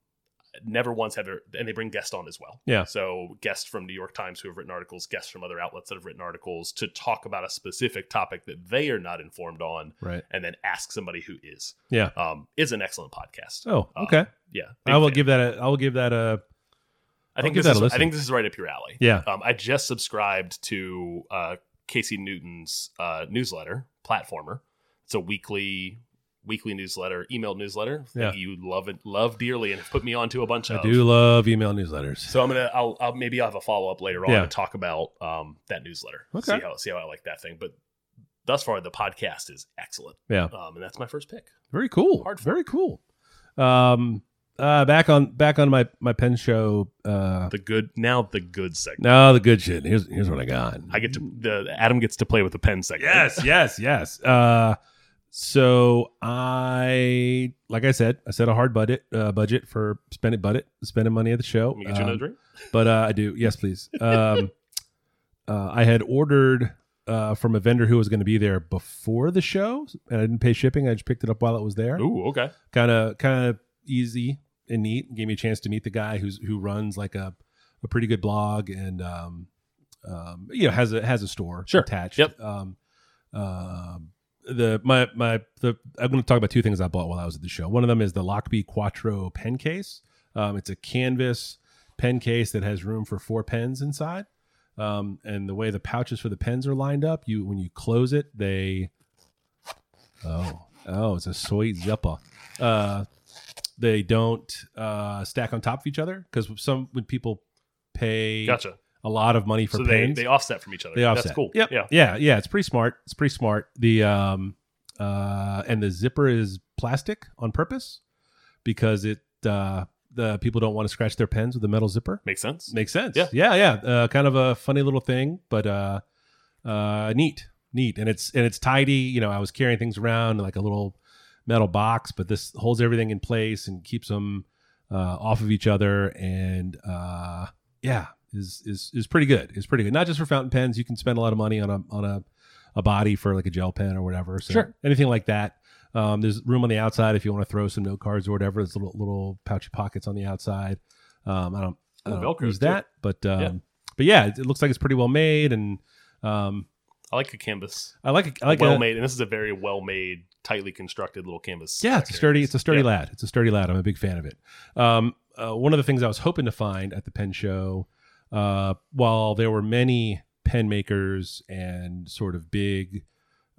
[SPEAKER 2] never once have, there- and they bring guests on as well.
[SPEAKER 1] Yeah.
[SPEAKER 2] So guests from New York Times who have written articles, guests from other outlets that have written articles to talk about a specific topic that they are not informed on,
[SPEAKER 1] Right.
[SPEAKER 2] and then ask somebody who is.
[SPEAKER 1] Yeah.
[SPEAKER 2] Um, is an excellent podcast.
[SPEAKER 1] Oh.
[SPEAKER 2] Um,
[SPEAKER 1] Okay.
[SPEAKER 2] Yeah.
[SPEAKER 1] I will
[SPEAKER 2] Big fan.
[SPEAKER 1] give that a. I will give that a.
[SPEAKER 2] I
[SPEAKER 1] I'll
[SPEAKER 2] think
[SPEAKER 1] give
[SPEAKER 2] this
[SPEAKER 1] that a
[SPEAKER 2] is, I
[SPEAKER 1] listen.
[SPEAKER 2] think this is right up your alley.
[SPEAKER 1] Yeah.
[SPEAKER 2] Um, I just subscribed to uh, Casey Newton's uh, newsletter, Platformer. It's a weekly weekly newsletter, email newsletter that
[SPEAKER 1] Yeah.
[SPEAKER 2] you love it, love dearly, and have put me onto a bunch
[SPEAKER 1] I
[SPEAKER 2] of.
[SPEAKER 1] do love email newsletters.
[SPEAKER 2] So I'm gonna, I'll, I'll maybe I'll have a follow up later on
[SPEAKER 1] Yeah.
[SPEAKER 2] to talk about um, that newsletter.
[SPEAKER 1] Okay.
[SPEAKER 2] See how see how I like that thing, but thus far the podcast is excellent.
[SPEAKER 1] Yeah.
[SPEAKER 2] Um, and that's my first pick.
[SPEAKER 1] Very cool.
[SPEAKER 2] Hard
[SPEAKER 1] Very cool. Um, uh, back on back on my my pen show. Uh,
[SPEAKER 2] The good now the good segment.
[SPEAKER 1] no, the good shit. Here's here's what I got.
[SPEAKER 2] I get to the Adam gets to play with the pen segment.
[SPEAKER 1] Yes, yes, yes. Uh, so I, like I said, I set a hard budget uh, budget for spend it, budget spending money at the show.
[SPEAKER 2] Let me get you
[SPEAKER 1] Um,
[SPEAKER 2] another drink.
[SPEAKER 1] but uh, I do. Yes, please. Um, uh, I had ordered uh, from a vendor who was going to be there before the show, and I didn't pay shipping. I just picked it up while it was there.
[SPEAKER 2] Ooh, okay.
[SPEAKER 1] Kind of, kind of easy and neat. Gave me a chance to meet the guy who's who runs like a a pretty good blog and um, um, you know has a has a store
[SPEAKER 2] Sure.
[SPEAKER 1] attached.
[SPEAKER 2] Yep.
[SPEAKER 1] Um, um the my my the I'm going to talk about two things I bought while I was at the show. One of them is the Lockbee Quattro pen case. Um, it's a canvas pen case that has room for four pens inside. Um, and the way the pouches for the pens are lined up, you when you close it, they oh oh it's a soy zipper. Uh, they don't uh, stack on top of each other because some when people pay
[SPEAKER 2] Gotcha.
[SPEAKER 1] a lot of money for
[SPEAKER 2] So they,
[SPEAKER 1] pens,
[SPEAKER 2] they offset from each other.
[SPEAKER 1] they offset.
[SPEAKER 2] That's cool.
[SPEAKER 1] Yep.
[SPEAKER 2] Yeah.
[SPEAKER 1] Yeah. Yeah. It's pretty smart. It's pretty smart. The um uh and the zipper is plastic on purpose because it uh the people don't want to scratch their pens with a metal zipper.
[SPEAKER 2] Makes sense.
[SPEAKER 1] Makes sense.
[SPEAKER 2] Yeah.
[SPEAKER 1] Yeah. Yeah. Uh, kind of a funny little thing, but uh uh neat. Neat. And it's and it's tidy. You know, I was carrying things around like a little metal box, but this holds everything in place and keeps them uh, off of each other. And uh, yeah, is is is pretty good. Is pretty good. Not just for fountain pens. You can spend a lot of money on a on a a body for like a gel pen or whatever. So
[SPEAKER 2] Sure.
[SPEAKER 1] anything like that. Um, there's room on the outside if you want to throw some note cards or whatever. There's little little pouchy pockets on the outside. Um, I don't, I
[SPEAKER 2] Ooh,
[SPEAKER 1] don't
[SPEAKER 2] Velcro,
[SPEAKER 1] use
[SPEAKER 2] too.
[SPEAKER 1] that, but um,
[SPEAKER 2] Yeah.
[SPEAKER 1] but yeah, it, it looks like it's pretty well made, and um,
[SPEAKER 2] I like a canvas.
[SPEAKER 1] I like a, I like
[SPEAKER 2] well
[SPEAKER 1] a,
[SPEAKER 2] made, and this is a very well made, tightly constructed little canvas.
[SPEAKER 1] Yeah,
[SPEAKER 2] uh,
[SPEAKER 1] it's a sturdy.
[SPEAKER 2] canvas.
[SPEAKER 1] It's a sturdy
[SPEAKER 2] Yeah.
[SPEAKER 1] lad. It's a sturdy lad. I'm a big fan of it. Um, uh, one of the things I was hoping to find at the pen show, uh, while there were many pen makers and sort of big,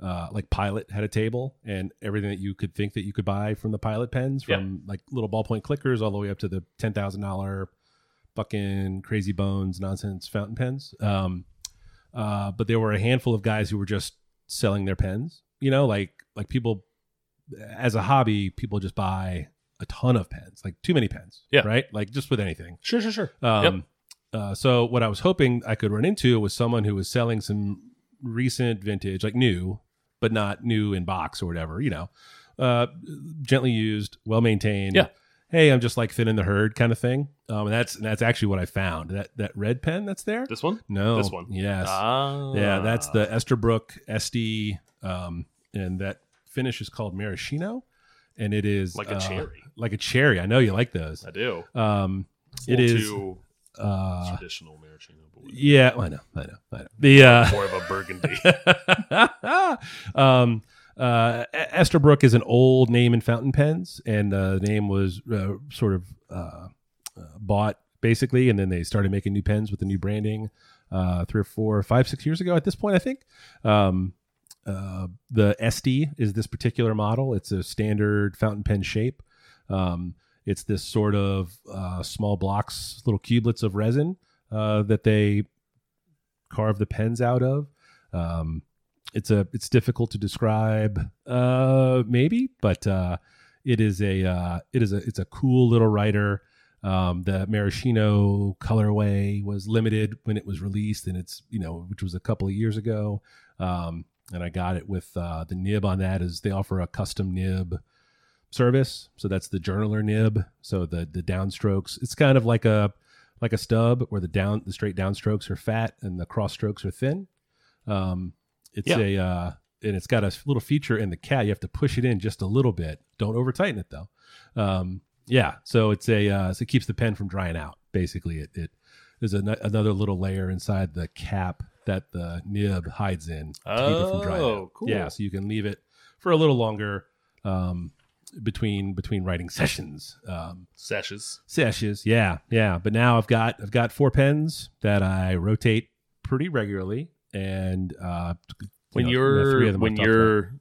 [SPEAKER 1] uh, like Pilot had a table and everything that you could think that you could buy from the Pilot pens,
[SPEAKER 2] Yeah.
[SPEAKER 1] from like little ballpoint clickers all the way up to the ten thousand dollar fucking crazy bones nonsense fountain pens. Um, uh, but there were a handful of guys who were just selling their pens. You know, like like people as a hobby, people just buy a ton of pens, like too many pens.
[SPEAKER 2] Yeah.
[SPEAKER 1] Right. Like just with anything.
[SPEAKER 2] Sure, sure, sure.
[SPEAKER 1] Um, uh, so what I was hoping I could run into was someone who was selling some recent vintage, like new, but not new in box or whatever, you know, uh, gently used, well maintained.
[SPEAKER 2] Yeah.
[SPEAKER 1] Hey, I'm just like thinning the herd kind of thing. Um, and that's and that's actually what I found. That that red pen that's there.
[SPEAKER 2] This one?
[SPEAKER 1] no,
[SPEAKER 2] this one.
[SPEAKER 1] Yes.
[SPEAKER 2] Ah.
[SPEAKER 1] Yeah, that's the Esterbrook SD, um, and that finish is called maraschino, and it is
[SPEAKER 2] Like a
[SPEAKER 1] uh,
[SPEAKER 2] cherry.
[SPEAKER 1] like a cherry. I know you like those.
[SPEAKER 2] I do.
[SPEAKER 1] Um,
[SPEAKER 2] It's a
[SPEAKER 1] it
[SPEAKER 2] little
[SPEAKER 1] is.
[SPEAKER 2] too
[SPEAKER 1] Uh,
[SPEAKER 2] traditional maraschino, but whatever.
[SPEAKER 1] yeah, I know, I know, I know. The uh,
[SPEAKER 2] more of a burgundy.
[SPEAKER 1] um, uh, E- Esterbrook is an old name in fountain pens, and uh, the name was uh, sort of uh, uh, bought basically, and then they started making new pens with the new branding uh, three or four, five, six years ago. At this point, I think um, uh, the SD is this particular model. It's a standard fountain pen shape. Um, it's this sort of uh, small blocks, little cubelets of resin uh, that they carve the pens out of. Um, it's a it's difficult to describe, uh, maybe, but uh, it is a uh, it is a it's a cool little writer. Um, the maraschino colorway was limited when it was released, and it's you know which was a couple of years ago. Um, and I got it with uh, the nib on that is they offer a custom nib service, so that's the journaler nib. So the the downstrokes, it's kind of like a like a stub where the down the straight downstrokes are fat and the cross strokes are thin. Um, it's
[SPEAKER 2] Yeah.
[SPEAKER 1] a uh, and it's got a little feature in the cat. You have to push it in just a little bit. Don't over tighten it though. Um, yeah, so it's a uh, so it keeps the pen from drying out. Basically, it it there's an, another little layer inside the cap that the nib hides in to keep it from drying
[SPEAKER 2] Oh,
[SPEAKER 1] out.
[SPEAKER 2] cool.
[SPEAKER 1] Yeah, so you can leave it for a little longer um, between between writing sessions. Um,
[SPEAKER 2] Sashes.
[SPEAKER 1] sashes. Yeah, yeah. But now I've got I've got four pens that I rotate pretty regularly, and uh, you
[SPEAKER 2] When
[SPEAKER 1] know,
[SPEAKER 2] you
[SPEAKER 1] the three of
[SPEAKER 2] are
[SPEAKER 1] them
[SPEAKER 2] when
[SPEAKER 1] I've talked about.
[SPEAKER 2] you're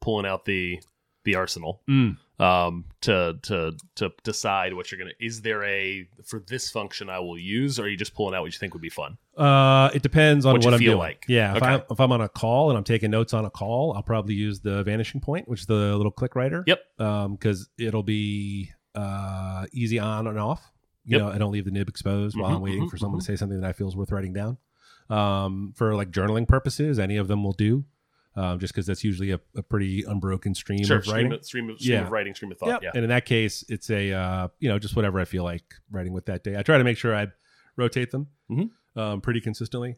[SPEAKER 2] pulling out the the arsenal
[SPEAKER 1] Mm.
[SPEAKER 2] um to to to decide what you're gonna is there a for this function I will use or are you just pulling out what you think would be fun?
[SPEAKER 1] Uh, it depends on
[SPEAKER 2] What
[SPEAKER 1] what,
[SPEAKER 2] you
[SPEAKER 1] I'm
[SPEAKER 2] feel
[SPEAKER 1] doing.
[SPEAKER 2] like.
[SPEAKER 1] Yeah, if,
[SPEAKER 2] Okay.
[SPEAKER 1] I'm, if I'm on a call and I'm taking notes on a call, I'll probably use the vanishing point, which is the little click writer.
[SPEAKER 2] Yep.
[SPEAKER 1] because um, it'll be uh, easy on and off. You
[SPEAKER 2] Yep.
[SPEAKER 1] know, I don't leave the nib exposed while
[SPEAKER 2] Mhm,
[SPEAKER 1] I'm waiting
[SPEAKER 2] mhm,
[SPEAKER 1] for someone to say something that I feel is worth writing down. Um, for like journaling purposes, any of them will do, um, just because that's usually a, a pretty unbroken stream
[SPEAKER 2] sure,
[SPEAKER 1] of writing.
[SPEAKER 2] stream of, stream, of, stream
[SPEAKER 1] Yeah.
[SPEAKER 2] of writing, stream of thought.
[SPEAKER 1] Yep.
[SPEAKER 2] Yeah,
[SPEAKER 1] And in that case, it's a uh, you know just whatever I feel like writing with that day. I try to make sure I rotate them
[SPEAKER 2] Mhm.
[SPEAKER 1] um, pretty consistently.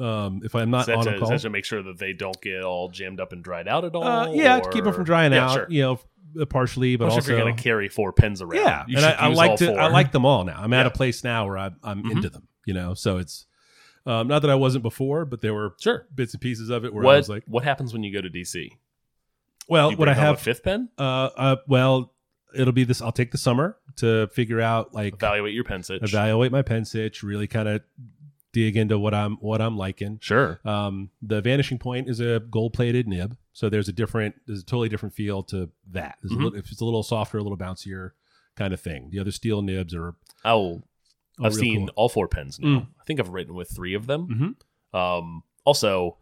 [SPEAKER 1] Um, if I'm not
[SPEAKER 2] so that's,
[SPEAKER 1] on
[SPEAKER 2] to,
[SPEAKER 1] a call,
[SPEAKER 2] that's to make sure that they don't get all jammed up and dried out at all.
[SPEAKER 1] uh, yeah, to keep them from
[SPEAKER 2] or-
[SPEAKER 1] drying
[SPEAKER 2] Yeah,
[SPEAKER 1] out.
[SPEAKER 2] Sure.
[SPEAKER 1] You know, f- partially, but
[SPEAKER 2] Especially
[SPEAKER 1] also
[SPEAKER 2] if you're gonna carry four pens around.
[SPEAKER 1] yeah.
[SPEAKER 2] you
[SPEAKER 1] and I,
[SPEAKER 2] should
[SPEAKER 1] I
[SPEAKER 2] use
[SPEAKER 1] like
[SPEAKER 2] all
[SPEAKER 1] to
[SPEAKER 2] four.
[SPEAKER 1] I like them all now. I'm at
[SPEAKER 2] Yeah.
[SPEAKER 1] a place now where I, I'm
[SPEAKER 2] Mhm.
[SPEAKER 1] into them. You know, so it's um, not that I wasn't before, but there were
[SPEAKER 2] sure.
[SPEAKER 1] bits and pieces of it where I
[SPEAKER 2] What
[SPEAKER 1] was like,
[SPEAKER 2] what happens when you go to DC? Do
[SPEAKER 1] well,
[SPEAKER 2] you
[SPEAKER 1] what
[SPEAKER 2] bring
[SPEAKER 1] I
[SPEAKER 2] home a
[SPEAKER 1] have,
[SPEAKER 2] fifth pen.
[SPEAKER 1] uh, uh, well, it'll be this. I'll take the summer to figure out like
[SPEAKER 2] Evaluate your pen sitch.
[SPEAKER 1] evaluate my pen sitch, really kind of dig into what I'm what I'm liking.
[SPEAKER 2] sure.
[SPEAKER 1] Um, the Vanishing Point is a gold plated nib, so there's a different, there's a totally different feel to that. There's
[SPEAKER 2] Mhm.
[SPEAKER 1] a little, if it's a little softer, a little bouncier kind of thing. The other steel nibs are.
[SPEAKER 2] I'll
[SPEAKER 1] are
[SPEAKER 2] Oh, I've
[SPEAKER 1] Oh, real
[SPEAKER 2] seen
[SPEAKER 1] cool. Mm.
[SPEAKER 2] all four pens now. I think I've written with three of them.
[SPEAKER 1] Mm-hmm.
[SPEAKER 2] Um, also,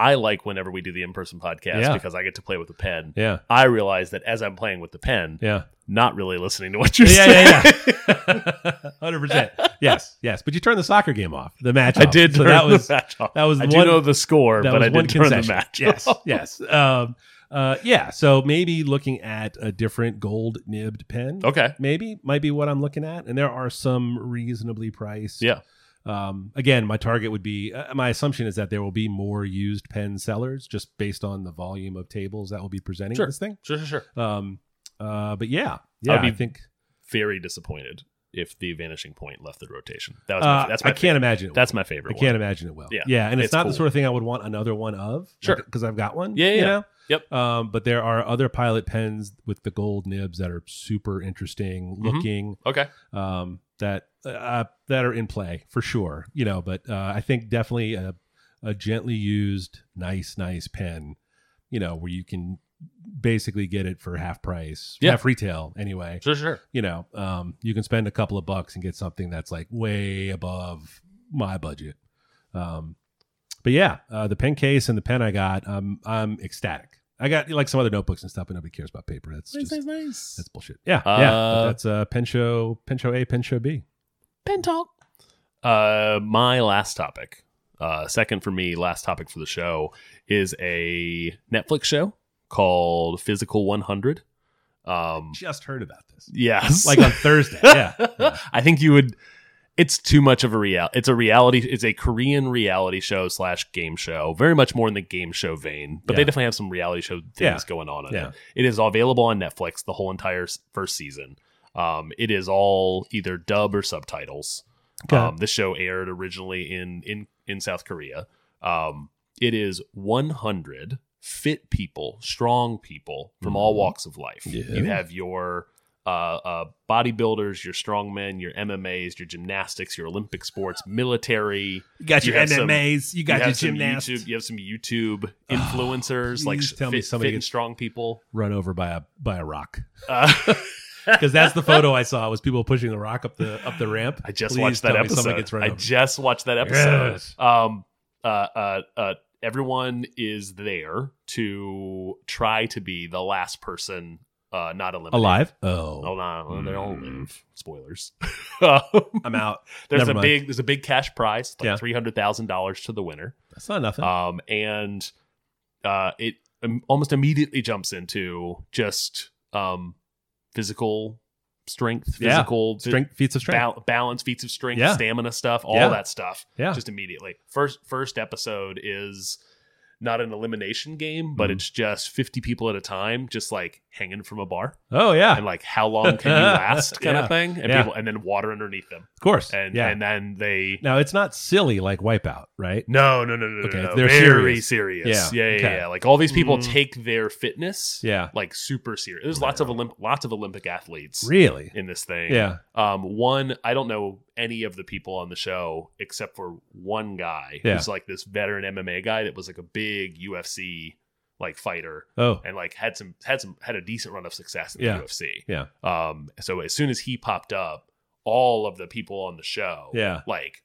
[SPEAKER 2] I like whenever we do the in person podcast
[SPEAKER 1] Yeah.
[SPEAKER 2] because I get to play with a pen.
[SPEAKER 1] Yeah,
[SPEAKER 2] I realize that as I'm playing with the pen,
[SPEAKER 1] yeah,
[SPEAKER 2] not really listening to what you're
[SPEAKER 1] yeah,
[SPEAKER 2] saying.
[SPEAKER 1] yeah, yeah. Hundred percent. Yes, yes. But you turned the soccer game off. The match.
[SPEAKER 2] I
[SPEAKER 1] off.
[SPEAKER 2] did.
[SPEAKER 1] So
[SPEAKER 2] turn
[SPEAKER 1] that was
[SPEAKER 2] the match off.
[SPEAKER 1] that was
[SPEAKER 2] I do
[SPEAKER 1] one-
[SPEAKER 2] know the score,
[SPEAKER 1] that
[SPEAKER 2] but
[SPEAKER 1] was
[SPEAKER 2] I
[SPEAKER 1] one
[SPEAKER 2] did turn
[SPEAKER 1] concession.
[SPEAKER 2] the match.
[SPEAKER 1] Yes,
[SPEAKER 2] off.
[SPEAKER 1] yes. Um, uh, yeah. So maybe looking at a different gold nibbed pen.
[SPEAKER 2] Okay.
[SPEAKER 1] maybe might be what I'm looking at. And there are some reasonably priced.
[SPEAKER 2] Yeah.
[SPEAKER 1] Um, again, my target would be uh, my assumption is that there will be more used pen sellers just based on the volume of tables that will be presenting
[SPEAKER 2] Sure.
[SPEAKER 1] this thing.
[SPEAKER 2] Sure, sure, sure.
[SPEAKER 1] Um, uh, but yeah, yeah,
[SPEAKER 2] be
[SPEAKER 1] I think
[SPEAKER 2] Very disappointed if the vanishing point left the rotation. That was my,
[SPEAKER 1] uh,
[SPEAKER 2] that's my
[SPEAKER 1] I can't imagine.
[SPEAKER 2] favorite.
[SPEAKER 1] It
[SPEAKER 2] that's my
[SPEAKER 1] will. I
[SPEAKER 2] favorite.
[SPEAKER 1] can't imagine it will.
[SPEAKER 2] Yeah,
[SPEAKER 1] yeah, and it's,
[SPEAKER 2] it's
[SPEAKER 1] not
[SPEAKER 2] cool.
[SPEAKER 1] the sort of thing I would want another one of.
[SPEAKER 2] Sure.
[SPEAKER 1] because I've got one.
[SPEAKER 2] Yeah, yeah,
[SPEAKER 1] you
[SPEAKER 2] yeah.
[SPEAKER 1] know?
[SPEAKER 2] Yep.
[SPEAKER 1] Um, but there are other pilot pens with the gold nibs that are super interesting
[SPEAKER 2] Mm-hmm.
[SPEAKER 1] looking.
[SPEAKER 2] One. Okay.
[SPEAKER 1] um, that uh, that are in play for sure. You know, but uh, I think definitely a, a gently used, nice, nice pen. You know, where you can basically get it for half price,
[SPEAKER 2] Yeah.
[SPEAKER 1] half retail anyway.
[SPEAKER 2] Sure, sure.
[SPEAKER 1] You know, um, you can spend a couple of bucks and get something that's like way above my budget. Um, but yeah, uh, the pen case and the pen I got, um, I'm ecstatic. I got like some other notebooks and stuff, but nobody cares about paper. That's just
[SPEAKER 2] nice.
[SPEAKER 1] that's bullshit. Yeah,
[SPEAKER 2] Uh,
[SPEAKER 1] yeah. But that's uh, pen show, pen show A, pen show B.
[SPEAKER 2] pen talk. Uh, my last topic, uh, second for me, last topic for the show is a Netflix show called Physical 100. Um,
[SPEAKER 1] Just heard about this.
[SPEAKER 2] yes,
[SPEAKER 1] Like on Thursday. Yeah.
[SPEAKER 2] I think you would. It's too much of a real. It's a reality. It's a Korean reality show slash game show. Very much more in the game show vein, but they
[SPEAKER 1] Yeah.
[SPEAKER 2] definitely have some reality show things
[SPEAKER 1] Yeah.
[SPEAKER 2] going on. In
[SPEAKER 1] Yeah.
[SPEAKER 2] it. it is available on Netflix. The whole entire s- first season. Um, it is all either dub or subtitles.
[SPEAKER 1] Okay.
[SPEAKER 2] Um, this show aired originally in in in South Korea. Um, it is 100 fit people, strong people from all
[SPEAKER 1] Mhm.
[SPEAKER 2] walks of life. You have your uh, uh, bodybuilders, your strongmen, your MMAs, your gymnastics, your Olympic sports, military.
[SPEAKER 1] You got
[SPEAKER 2] You
[SPEAKER 1] your
[SPEAKER 2] have some-
[SPEAKER 1] MMAs. you got your
[SPEAKER 2] have some
[SPEAKER 1] gymnasts.
[SPEAKER 2] YouTube, you have some YouTube influencers, like
[SPEAKER 1] please tell
[SPEAKER 2] fit,
[SPEAKER 1] me somebody
[SPEAKER 2] fit and
[SPEAKER 1] gets-
[SPEAKER 2] strong people.
[SPEAKER 1] Run over by a by a rock
[SPEAKER 2] Uh,
[SPEAKER 1] because that's the photo I saw was people pushing the rock up the up the ramp.
[SPEAKER 2] I just
[SPEAKER 1] Please
[SPEAKER 2] watched that
[SPEAKER 1] tell me somebody
[SPEAKER 2] episode.
[SPEAKER 1] gets run
[SPEAKER 2] I
[SPEAKER 1] over.
[SPEAKER 2] just watched that episode.
[SPEAKER 1] Yes.
[SPEAKER 2] Um, uh, uh, uh, everyone is there to try to be the last person uh, not eliminated.
[SPEAKER 1] Alive?
[SPEAKER 2] Oh
[SPEAKER 1] Oh,
[SPEAKER 2] no, they don't
[SPEAKER 1] Hmm.
[SPEAKER 2] live. Spoilers.
[SPEAKER 1] I'm out.
[SPEAKER 2] there's
[SPEAKER 1] Never
[SPEAKER 2] a
[SPEAKER 1] mind.
[SPEAKER 2] big there's a big cash prize, like
[SPEAKER 1] Yeah. Oh.
[SPEAKER 2] three hundred thousand dollars to the winner.
[SPEAKER 1] That's not nothing.
[SPEAKER 2] Um, and uh, it um, almost immediately jumps into just um physical strength,
[SPEAKER 1] Yeah.
[SPEAKER 2] physical
[SPEAKER 1] strength, feats of strength.
[SPEAKER 2] Bal- balance, feats of strength,
[SPEAKER 1] Yeah.
[SPEAKER 2] stamina stuff, all
[SPEAKER 1] Yeah.
[SPEAKER 2] that stuff.
[SPEAKER 1] Yeah.
[SPEAKER 2] Just immediately. First first episode is not an elimination game, but
[SPEAKER 1] Mhm.
[SPEAKER 2] it's just 50 people at a time just like hanging from a bar
[SPEAKER 1] oh yeah,
[SPEAKER 2] and like how long can you last kind
[SPEAKER 1] Yeah.
[SPEAKER 2] of thing and
[SPEAKER 1] Yeah.
[SPEAKER 2] people and then water underneath them.
[SPEAKER 1] of course.
[SPEAKER 2] And
[SPEAKER 1] yeah.
[SPEAKER 2] and then they
[SPEAKER 1] now it's not silly like Wipeout, right?
[SPEAKER 2] no, no, no, no,
[SPEAKER 1] Okay,
[SPEAKER 2] no, no.
[SPEAKER 1] they're
[SPEAKER 2] very
[SPEAKER 1] serious.
[SPEAKER 2] serious.
[SPEAKER 1] Yeah,
[SPEAKER 2] Yeah, yeah, yeah,
[SPEAKER 1] okay.
[SPEAKER 2] yeah. Like all these people
[SPEAKER 4] Mm.
[SPEAKER 2] take their fitness,
[SPEAKER 1] Yeah.
[SPEAKER 2] like super serious. There's lots of Olymp- lots of Olympic athletes
[SPEAKER 1] Really?
[SPEAKER 2] in this thing.
[SPEAKER 1] Yeah.
[SPEAKER 2] Um, one, I don't know any of the people on the show except for one guy
[SPEAKER 1] Yeah.
[SPEAKER 2] who's like this veteran MMA guy that was like a big UFC like fighter
[SPEAKER 1] Oh,
[SPEAKER 2] and like had some had some had a decent run of success in
[SPEAKER 1] Yeah.
[SPEAKER 2] the UFC.
[SPEAKER 1] Yeah.
[SPEAKER 2] Um, so as soon as he popped up, all of the people on the show,
[SPEAKER 1] Yeah.
[SPEAKER 2] like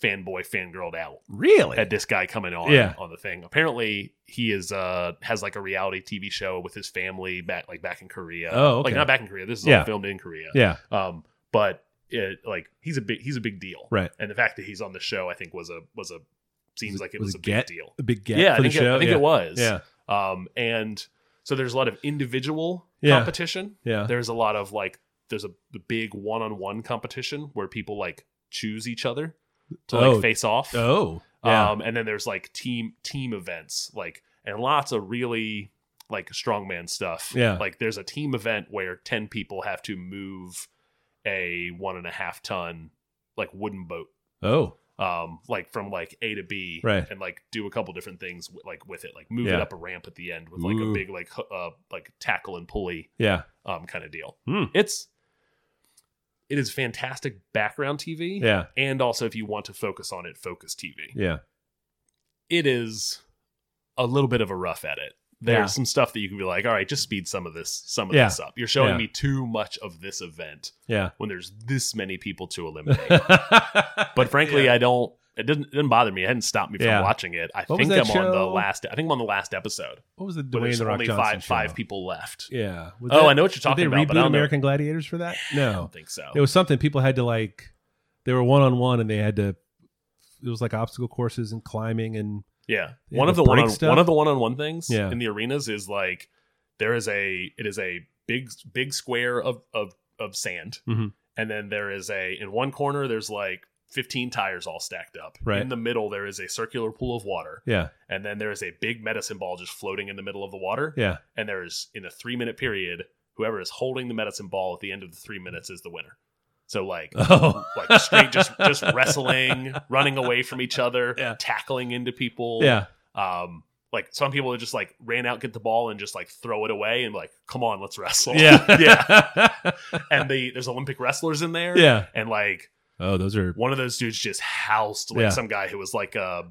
[SPEAKER 2] fanboy fangirled out
[SPEAKER 1] Really?
[SPEAKER 2] at this guy coming on
[SPEAKER 1] Yeah.
[SPEAKER 2] on the thing. Apparently, he is uh has like a reality TV show with his family back like back in Korea.
[SPEAKER 1] Oh,
[SPEAKER 2] like
[SPEAKER 1] okay.
[SPEAKER 2] not back in Korea. This is
[SPEAKER 1] Yeah.
[SPEAKER 2] all filmed in Korea.
[SPEAKER 1] Yeah.
[SPEAKER 2] Um, but it, like he's a big he's a big deal,
[SPEAKER 1] Right.
[SPEAKER 2] And the fact that he's on the show, I think, was a was a seems
[SPEAKER 1] Was it-
[SPEAKER 2] like it
[SPEAKER 1] was
[SPEAKER 2] was,
[SPEAKER 1] it
[SPEAKER 2] a big
[SPEAKER 1] get-
[SPEAKER 2] deal.
[SPEAKER 1] A big gap
[SPEAKER 2] Yeah, I
[SPEAKER 1] for the
[SPEAKER 2] think, it,
[SPEAKER 1] show.
[SPEAKER 2] I think
[SPEAKER 1] yeah.
[SPEAKER 2] it was.
[SPEAKER 1] Yeah.
[SPEAKER 2] Um, and so there's a lot of individual
[SPEAKER 1] Yeah. Uh-huh.
[SPEAKER 2] competition.
[SPEAKER 1] Yeah.
[SPEAKER 2] There's a lot of like there's a the big one on one competition where people like choose each other to like
[SPEAKER 1] Oh.
[SPEAKER 2] face off.
[SPEAKER 1] Oh. Yeah.
[SPEAKER 2] Um, and then there's like team team events, like and lots of really like strongman stuff.
[SPEAKER 1] Yeah.
[SPEAKER 2] Like there's a team event where ten people have to move a one and a half ton like wooden boat,
[SPEAKER 1] oh.
[SPEAKER 2] um, like from like A to B,
[SPEAKER 1] Right.
[SPEAKER 2] And like do a couple different things w- like with it, like move it
[SPEAKER 1] Yeah.
[SPEAKER 2] up a ramp at the end with like
[SPEAKER 1] Ooh.
[SPEAKER 2] a big like hu- uh like tackle and pulley
[SPEAKER 1] Yeah.
[SPEAKER 2] um kind of deal.
[SPEAKER 1] Hmm.
[SPEAKER 2] It's it is fantastic background TV.
[SPEAKER 1] Yeah.
[SPEAKER 2] And also, if you want to focus on it, focus TV
[SPEAKER 1] Yeah.
[SPEAKER 2] it is a little bit of a rough edit. There's
[SPEAKER 1] Yeah.
[SPEAKER 2] some stuff that you can be like, all right, just speed some of this some of
[SPEAKER 1] Yeah.
[SPEAKER 2] this up. You're showing
[SPEAKER 1] Yeah.
[SPEAKER 2] me too much of this event
[SPEAKER 1] Yeah.
[SPEAKER 2] when there's this many people to eliminate. but frankly, I don't it didn't it didn't bother me. It hadn't stopped me from
[SPEAKER 1] Yeah.
[SPEAKER 2] watching it. I
[SPEAKER 1] What was
[SPEAKER 2] think
[SPEAKER 1] that
[SPEAKER 2] I'm on the
[SPEAKER 1] show?
[SPEAKER 2] last I think I'm on the last episode.
[SPEAKER 1] what was the
[SPEAKER 2] But
[SPEAKER 1] Dwayne
[SPEAKER 2] there's
[SPEAKER 1] the Rock
[SPEAKER 2] only
[SPEAKER 1] Johnson
[SPEAKER 2] five five
[SPEAKER 1] show?
[SPEAKER 2] people left.
[SPEAKER 1] Yeah. Was
[SPEAKER 2] oh,
[SPEAKER 1] that-
[SPEAKER 2] I know what you're talking
[SPEAKER 1] Did they
[SPEAKER 2] about,
[SPEAKER 1] reboot
[SPEAKER 2] but I don't know-
[SPEAKER 1] American Gladiators for that?
[SPEAKER 2] I
[SPEAKER 1] No.
[SPEAKER 2] don't think so.
[SPEAKER 1] It was something people had to like. They were one on one, and they had to. It was like obstacle courses and climbing, and
[SPEAKER 2] Yeah.
[SPEAKER 1] Yeah,
[SPEAKER 2] one
[SPEAKER 1] the
[SPEAKER 2] of the
[SPEAKER 1] break
[SPEAKER 2] one on,
[SPEAKER 1] stuff.
[SPEAKER 2] one of the one on one things
[SPEAKER 1] Yeah.
[SPEAKER 2] in the arenas is like there is a it is a big big square of of of sand.
[SPEAKER 1] Mhm.
[SPEAKER 2] And then there is a in one corner there's like 15 tires all stacked up.
[SPEAKER 1] Right.
[SPEAKER 2] In the middle there is a circular pool of water.
[SPEAKER 1] yeah,
[SPEAKER 2] And then there is a big medicine ball just floating in the middle of the water.
[SPEAKER 1] yeah,
[SPEAKER 2] And there's in a 3 minute period whoever is holding the medicine ball at the end of the 3 minutes is the winner. So like
[SPEAKER 1] oh,
[SPEAKER 2] like straight just just wrestling, running away from each other,
[SPEAKER 1] Yeah.
[SPEAKER 2] tackling into people
[SPEAKER 1] yeah,
[SPEAKER 2] um like some people just like ran out get the ball and just like throw it away and like come on let's wrestle
[SPEAKER 1] yeah,
[SPEAKER 2] yeah
[SPEAKER 1] yeah,
[SPEAKER 2] and the there's olympic wrestlers in there
[SPEAKER 1] yeah.
[SPEAKER 2] and like
[SPEAKER 1] Oh, those are
[SPEAKER 2] one of those dudes just housed like
[SPEAKER 1] Yeah.
[SPEAKER 2] some guy who was like a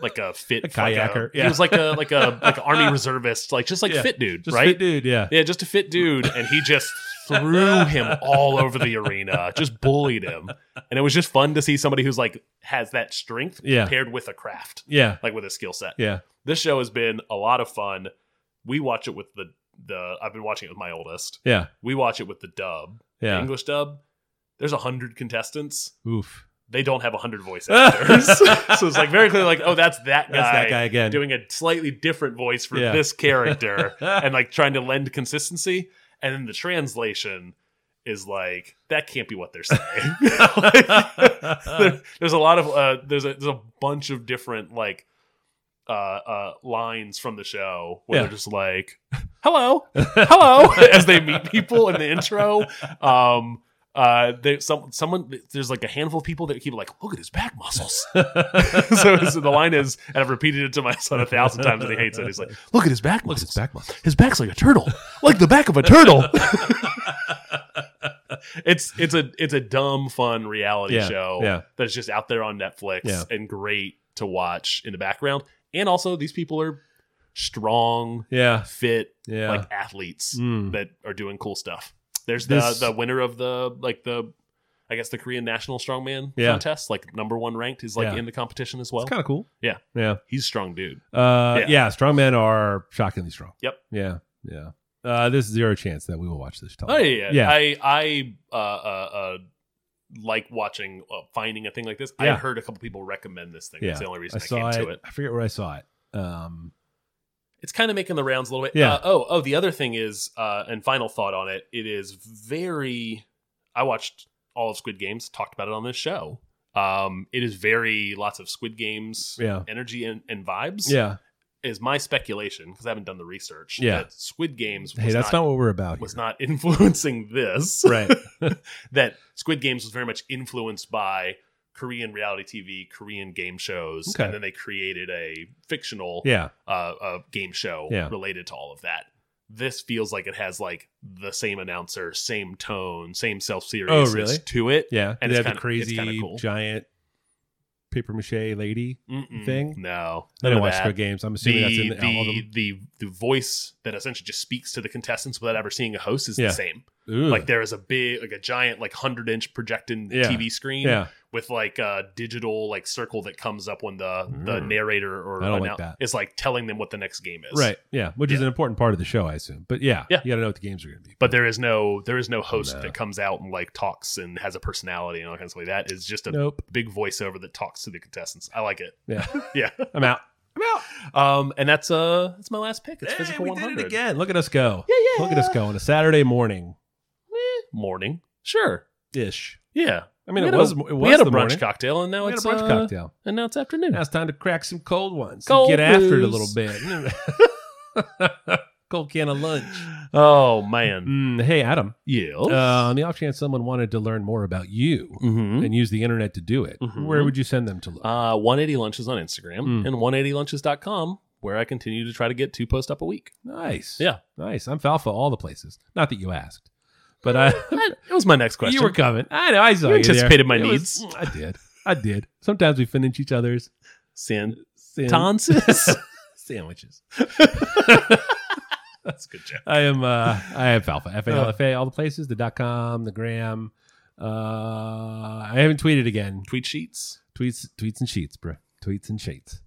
[SPEAKER 2] like a fit
[SPEAKER 1] A kayaker,
[SPEAKER 2] like a-
[SPEAKER 1] yeah.
[SPEAKER 2] he was like a like a like an army reservist like just like
[SPEAKER 1] Yeah,
[SPEAKER 2] fit dude
[SPEAKER 1] just
[SPEAKER 2] right
[SPEAKER 1] fit dude. Yeah,
[SPEAKER 2] yeah just a fit dude and he just threw him all over the arena just bullied him and it was just fun to see somebody who's like has that strength
[SPEAKER 1] Yeah.
[SPEAKER 2] paired with a craft
[SPEAKER 1] yeah,
[SPEAKER 2] like with a skill set
[SPEAKER 1] yeah.
[SPEAKER 2] this show has been a lot of fun. We watch it with the the I've been watching it with my oldest.
[SPEAKER 1] Yeah,
[SPEAKER 2] We watch it with the dub, the
[SPEAKER 1] yeah.
[SPEAKER 2] English dub. There's a hundred contestants.
[SPEAKER 1] Oof.
[SPEAKER 2] They don't have a hundred voice actors, so it's like very clear, like oh, that's
[SPEAKER 1] That's
[SPEAKER 2] that guy,
[SPEAKER 1] that guy again.
[SPEAKER 2] doing a slightly different voice for
[SPEAKER 1] Yeah.
[SPEAKER 2] this character, and like trying to lend consistency. And then the translation is like that can't be what they're saying. Like, there, there's a lot of uh, there's a there's a bunch of different like uh uh lines from the show where
[SPEAKER 1] Yeah.
[SPEAKER 2] they're just like hello hello as they meet people in the intro um uh there some someone there's like a handful of people that keep like look at his back muscles so, so the line is and i've repeated it to my son a thousand times and he hates it he's like look at his back muscles his,
[SPEAKER 1] back muscle.
[SPEAKER 2] back's like a turtle like the back of a turtle it's it's a it's a dumb fun reality
[SPEAKER 1] Yeah,
[SPEAKER 2] show
[SPEAKER 1] yeah.
[SPEAKER 2] that's just out there on Netflix
[SPEAKER 1] Yeah.
[SPEAKER 2] and great to watch in the background. And also, these people are strong,
[SPEAKER 1] Yeah,
[SPEAKER 2] fit,
[SPEAKER 1] yeah.
[SPEAKER 2] like athletes
[SPEAKER 1] Mm.
[SPEAKER 2] that are doing cool stuff. There's
[SPEAKER 1] This-
[SPEAKER 2] the the winner of the like the I guess the Korean National Strongman
[SPEAKER 1] Yeah.
[SPEAKER 2] contest, like number one ranked, is like
[SPEAKER 1] Yeah.
[SPEAKER 2] in the competition as well.
[SPEAKER 1] It's kind of cool.
[SPEAKER 2] Yeah.
[SPEAKER 1] yeah.
[SPEAKER 2] He's strong, dude.
[SPEAKER 1] Uh, yeah.
[SPEAKER 2] Yeah.
[SPEAKER 1] strongmen are shockingly strong.
[SPEAKER 2] Yep.
[SPEAKER 1] Yeah, yeah. Uh, there's zero chance that we will watch this. Time.
[SPEAKER 2] Oh yeah,
[SPEAKER 1] yeah.
[SPEAKER 2] yeah. I I uh, uh, uh, like watching uh, finding a thing like this.
[SPEAKER 1] Yeah.
[SPEAKER 2] I heard a couple people recommend this thing.
[SPEAKER 1] Yeah.
[SPEAKER 2] That's the only reason I,
[SPEAKER 1] saw
[SPEAKER 2] came
[SPEAKER 1] it.
[SPEAKER 2] to it.
[SPEAKER 1] I forget where I saw it. Um,
[SPEAKER 2] It's kind of making the rounds a little bit.
[SPEAKER 1] Yeah.
[SPEAKER 2] Uh, oh oh, the other thing is, uh, and final thought on it. It is very. I watched all of Squid Games. Talked about it on this show. Um, it is very lots of Squid Games
[SPEAKER 1] yeah,
[SPEAKER 2] energy and, and vibes.
[SPEAKER 1] yeah.
[SPEAKER 2] is my speculation because I haven't done the research.
[SPEAKER 1] Yeah.
[SPEAKER 2] that Squid Games. Was
[SPEAKER 1] Hey, that's not,
[SPEAKER 2] not
[SPEAKER 1] what we're about.
[SPEAKER 2] was
[SPEAKER 1] here.
[SPEAKER 2] not influencing this.
[SPEAKER 1] right.
[SPEAKER 2] that Squid Games was very much influenced by Korean reality TV, Korean game shows,
[SPEAKER 1] Okay.
[SPEAKER 2] and then they created a fictional
[SPEAKER 1] Yeah,
[SPEAKER 2] uh, a game show
[SPEAKER 1] Yeah.
[SPEAKER 2] related to all of that. This feels like it has like the same announcer, same tone, same self seriousness
[SPEAKER 1] Oh, really?
[SPEAKER 2] to it.
[SPEAKER 1] yeah.
[SPEAKER 2] And
[SPEAKER 1] they have
[SPEAKER 2] it's kinda-
[SPEAKER 1] the
[SPEAKER 2] it's
[SPEAKER 1] crazy
[SPEAKER 2] kinda cool.
[SPEAKER 1] giant paper mache lady.
[SPEAKER 2] Mm-mm.
[SPEAKER 1] Thing?
[SPEAKER 2] No,
[SPEAKER 1] I
[SPEAKER 2] none
[SPEAKER 1] don't
[SPEAKER 2] of
[SPEAKER 1] watch
[SPEAKER 2] that.
[SPEAKER 1] Squid Games. I'm assuming that's
[SPEAKER 2] The,
[SPEAKER 1] in all of
[SPEAKER 2] the,
[SPEAKER 1] them.
[SPEAKER 2] the the voice that essentially just speaks to the contestants without ever seeing a host is
[SPEAKER 1] Yeah.
[SPEAKER 2] the same.
[SPEAKER 1] Ooh.
[SPEAKER 2] Like there is a big, like a giant, like hundred inch projecting
[SPEAKER 1] Yeah.
[SPEAKER 2] TV screen
[SPEAKER 1] Yeah.
[SPEAKER 2] with like a digital like circle that comes up when the the narrator or
[SPEAKER 1] Mm. I don't like
[SPEAKER 2] annou-
[SPEAKER 1] that.
[SPEAKER 2] is like telling them what the next game is.
[SPEAKER 1] Right. Yeah. Which is
[SPEAKER 2] Yeah.
[SPEAKER 1] an important part of the show, I assume. But yeah,
[SPEAKER 2] Yeah.
[SPEAKER 1] you got to know what the games are going to be.
[SPEAKER 2] But there is no there is no host
[SPEAKER 1] No.
[SPEAKER 2] that comes out and like talks and has a personality and all kinds of like that. It's just a
[SPEAKER 1] nope.
[SPEAKER 2] big voiceover that talks to the contestants. I like it.
[SPEAKER 1] Yeah.
[SPEAKER 2] Yeah.
[SPEAKER 1] I'm out.
[SPEAKER 2] Um, and that's uh that's my last pick. It's
[SPEAKER 1] Hey,
[SPEAKER 2] physical
[SPEAKER 1] we
[SPEAKER 2] one
[SPEAKER 1] did it
[SPEAKER 2] hundred
[SPEAKER 1] again. Look at us go.
[SPEAKER 2] Yeah, yeah.
[SPEAKER 1] Look at us go on a Saturday morning
[SPEAKER 2] morning. Sure.
[SPEAKER 1] ish.
[SPEAKER 2] Yeah.
[SPEAKER 1] I mean,
[SPEAKER 2] We
[SPEAKER 1] it
[SPEAKER 2] had a-
[SPEAKER 1] was. it
[SPEAKER 2] we
[SPEAKER 1] was
[SPEAKER 2] had a
[SPEAKER 1] the
[SPEAKER 2] brunch
[SPEAKER 1] morning.
[SPEAKER 2] cocktail and now
[SPEAKER 1] We had a
[SPEAKER 2] it's
[SPEAKER 1] brunch
[SPEAKER 2] uh,
[SPEAKER 1] cocktail.
[SPEAKER 2] and now it's afternoon.
[SPEAKER 1] Now it's time to crack some cold ones. and
[SPEAKER 2] Cold
[SPEAKER 1] get after it a little
[SPEAKER 2] brews.
[SPEAKER 1] bit. cold can of lunch.
[SPEAKER 2] Oh man.
[SPEAKER 1] Mm, hey, Adam.
[SPEAKER 2] Yeah.
[SPEAKER 1] Uh, on the off chance someone wanted to learn more about you
[SPEAKER 2] mm-hmm.
[SPEAKER 1] and use the internet to do it,
[SPEAKER 2] Mhm.
[SPEAKER 1] where would you send them to look?
[SPEAKER 2] Uh, 180 Lunches on Instagram
[SPEAKER 1] Mm.
[SPEAKER 2] and 180lunches.com, where I continue to try to get two posts up a week.
[SPEAKER 1] nice.
[SPEAKER 2] yeah.
[SPEAKER 1] Nice. I'm Falfa all the places. Not that you asked, but I.
[SPEAKER 2] It was my next question.
[SPEAKER 1] You were coming. I know. I saw
[SPEAKER 2] You
[SPEAKER 1] you.
[SPEAKER 2] anticipated
[SPEAKER 1] there.
[SPEAKER 2] my
[SPEAKER 1] It was-
[SPEAKER 2] needs.
[SPEAKER 1] I did. I did. Sometimes we finish each other's
[SPEAKER 2] San
[SPEAKER 1] san-
[SPEAKER 2] Tonsis.
[SPEAKER 1] sandwiches.
[SPEAKER 2] That's a good joke.
[SPEAKER 1] I am. Uh, I am Falfa. F A
[SPEAKER 2] Uh-huh.
[SPEAKER 1] L F A. All the places. The dot com. The gram. Uh, I haven't tweeted again.
[SPEAKER 2] Tweet sheets.
[SPEAKER 1] Tweets. Tweets and sheets, bro. Tweets and sheets.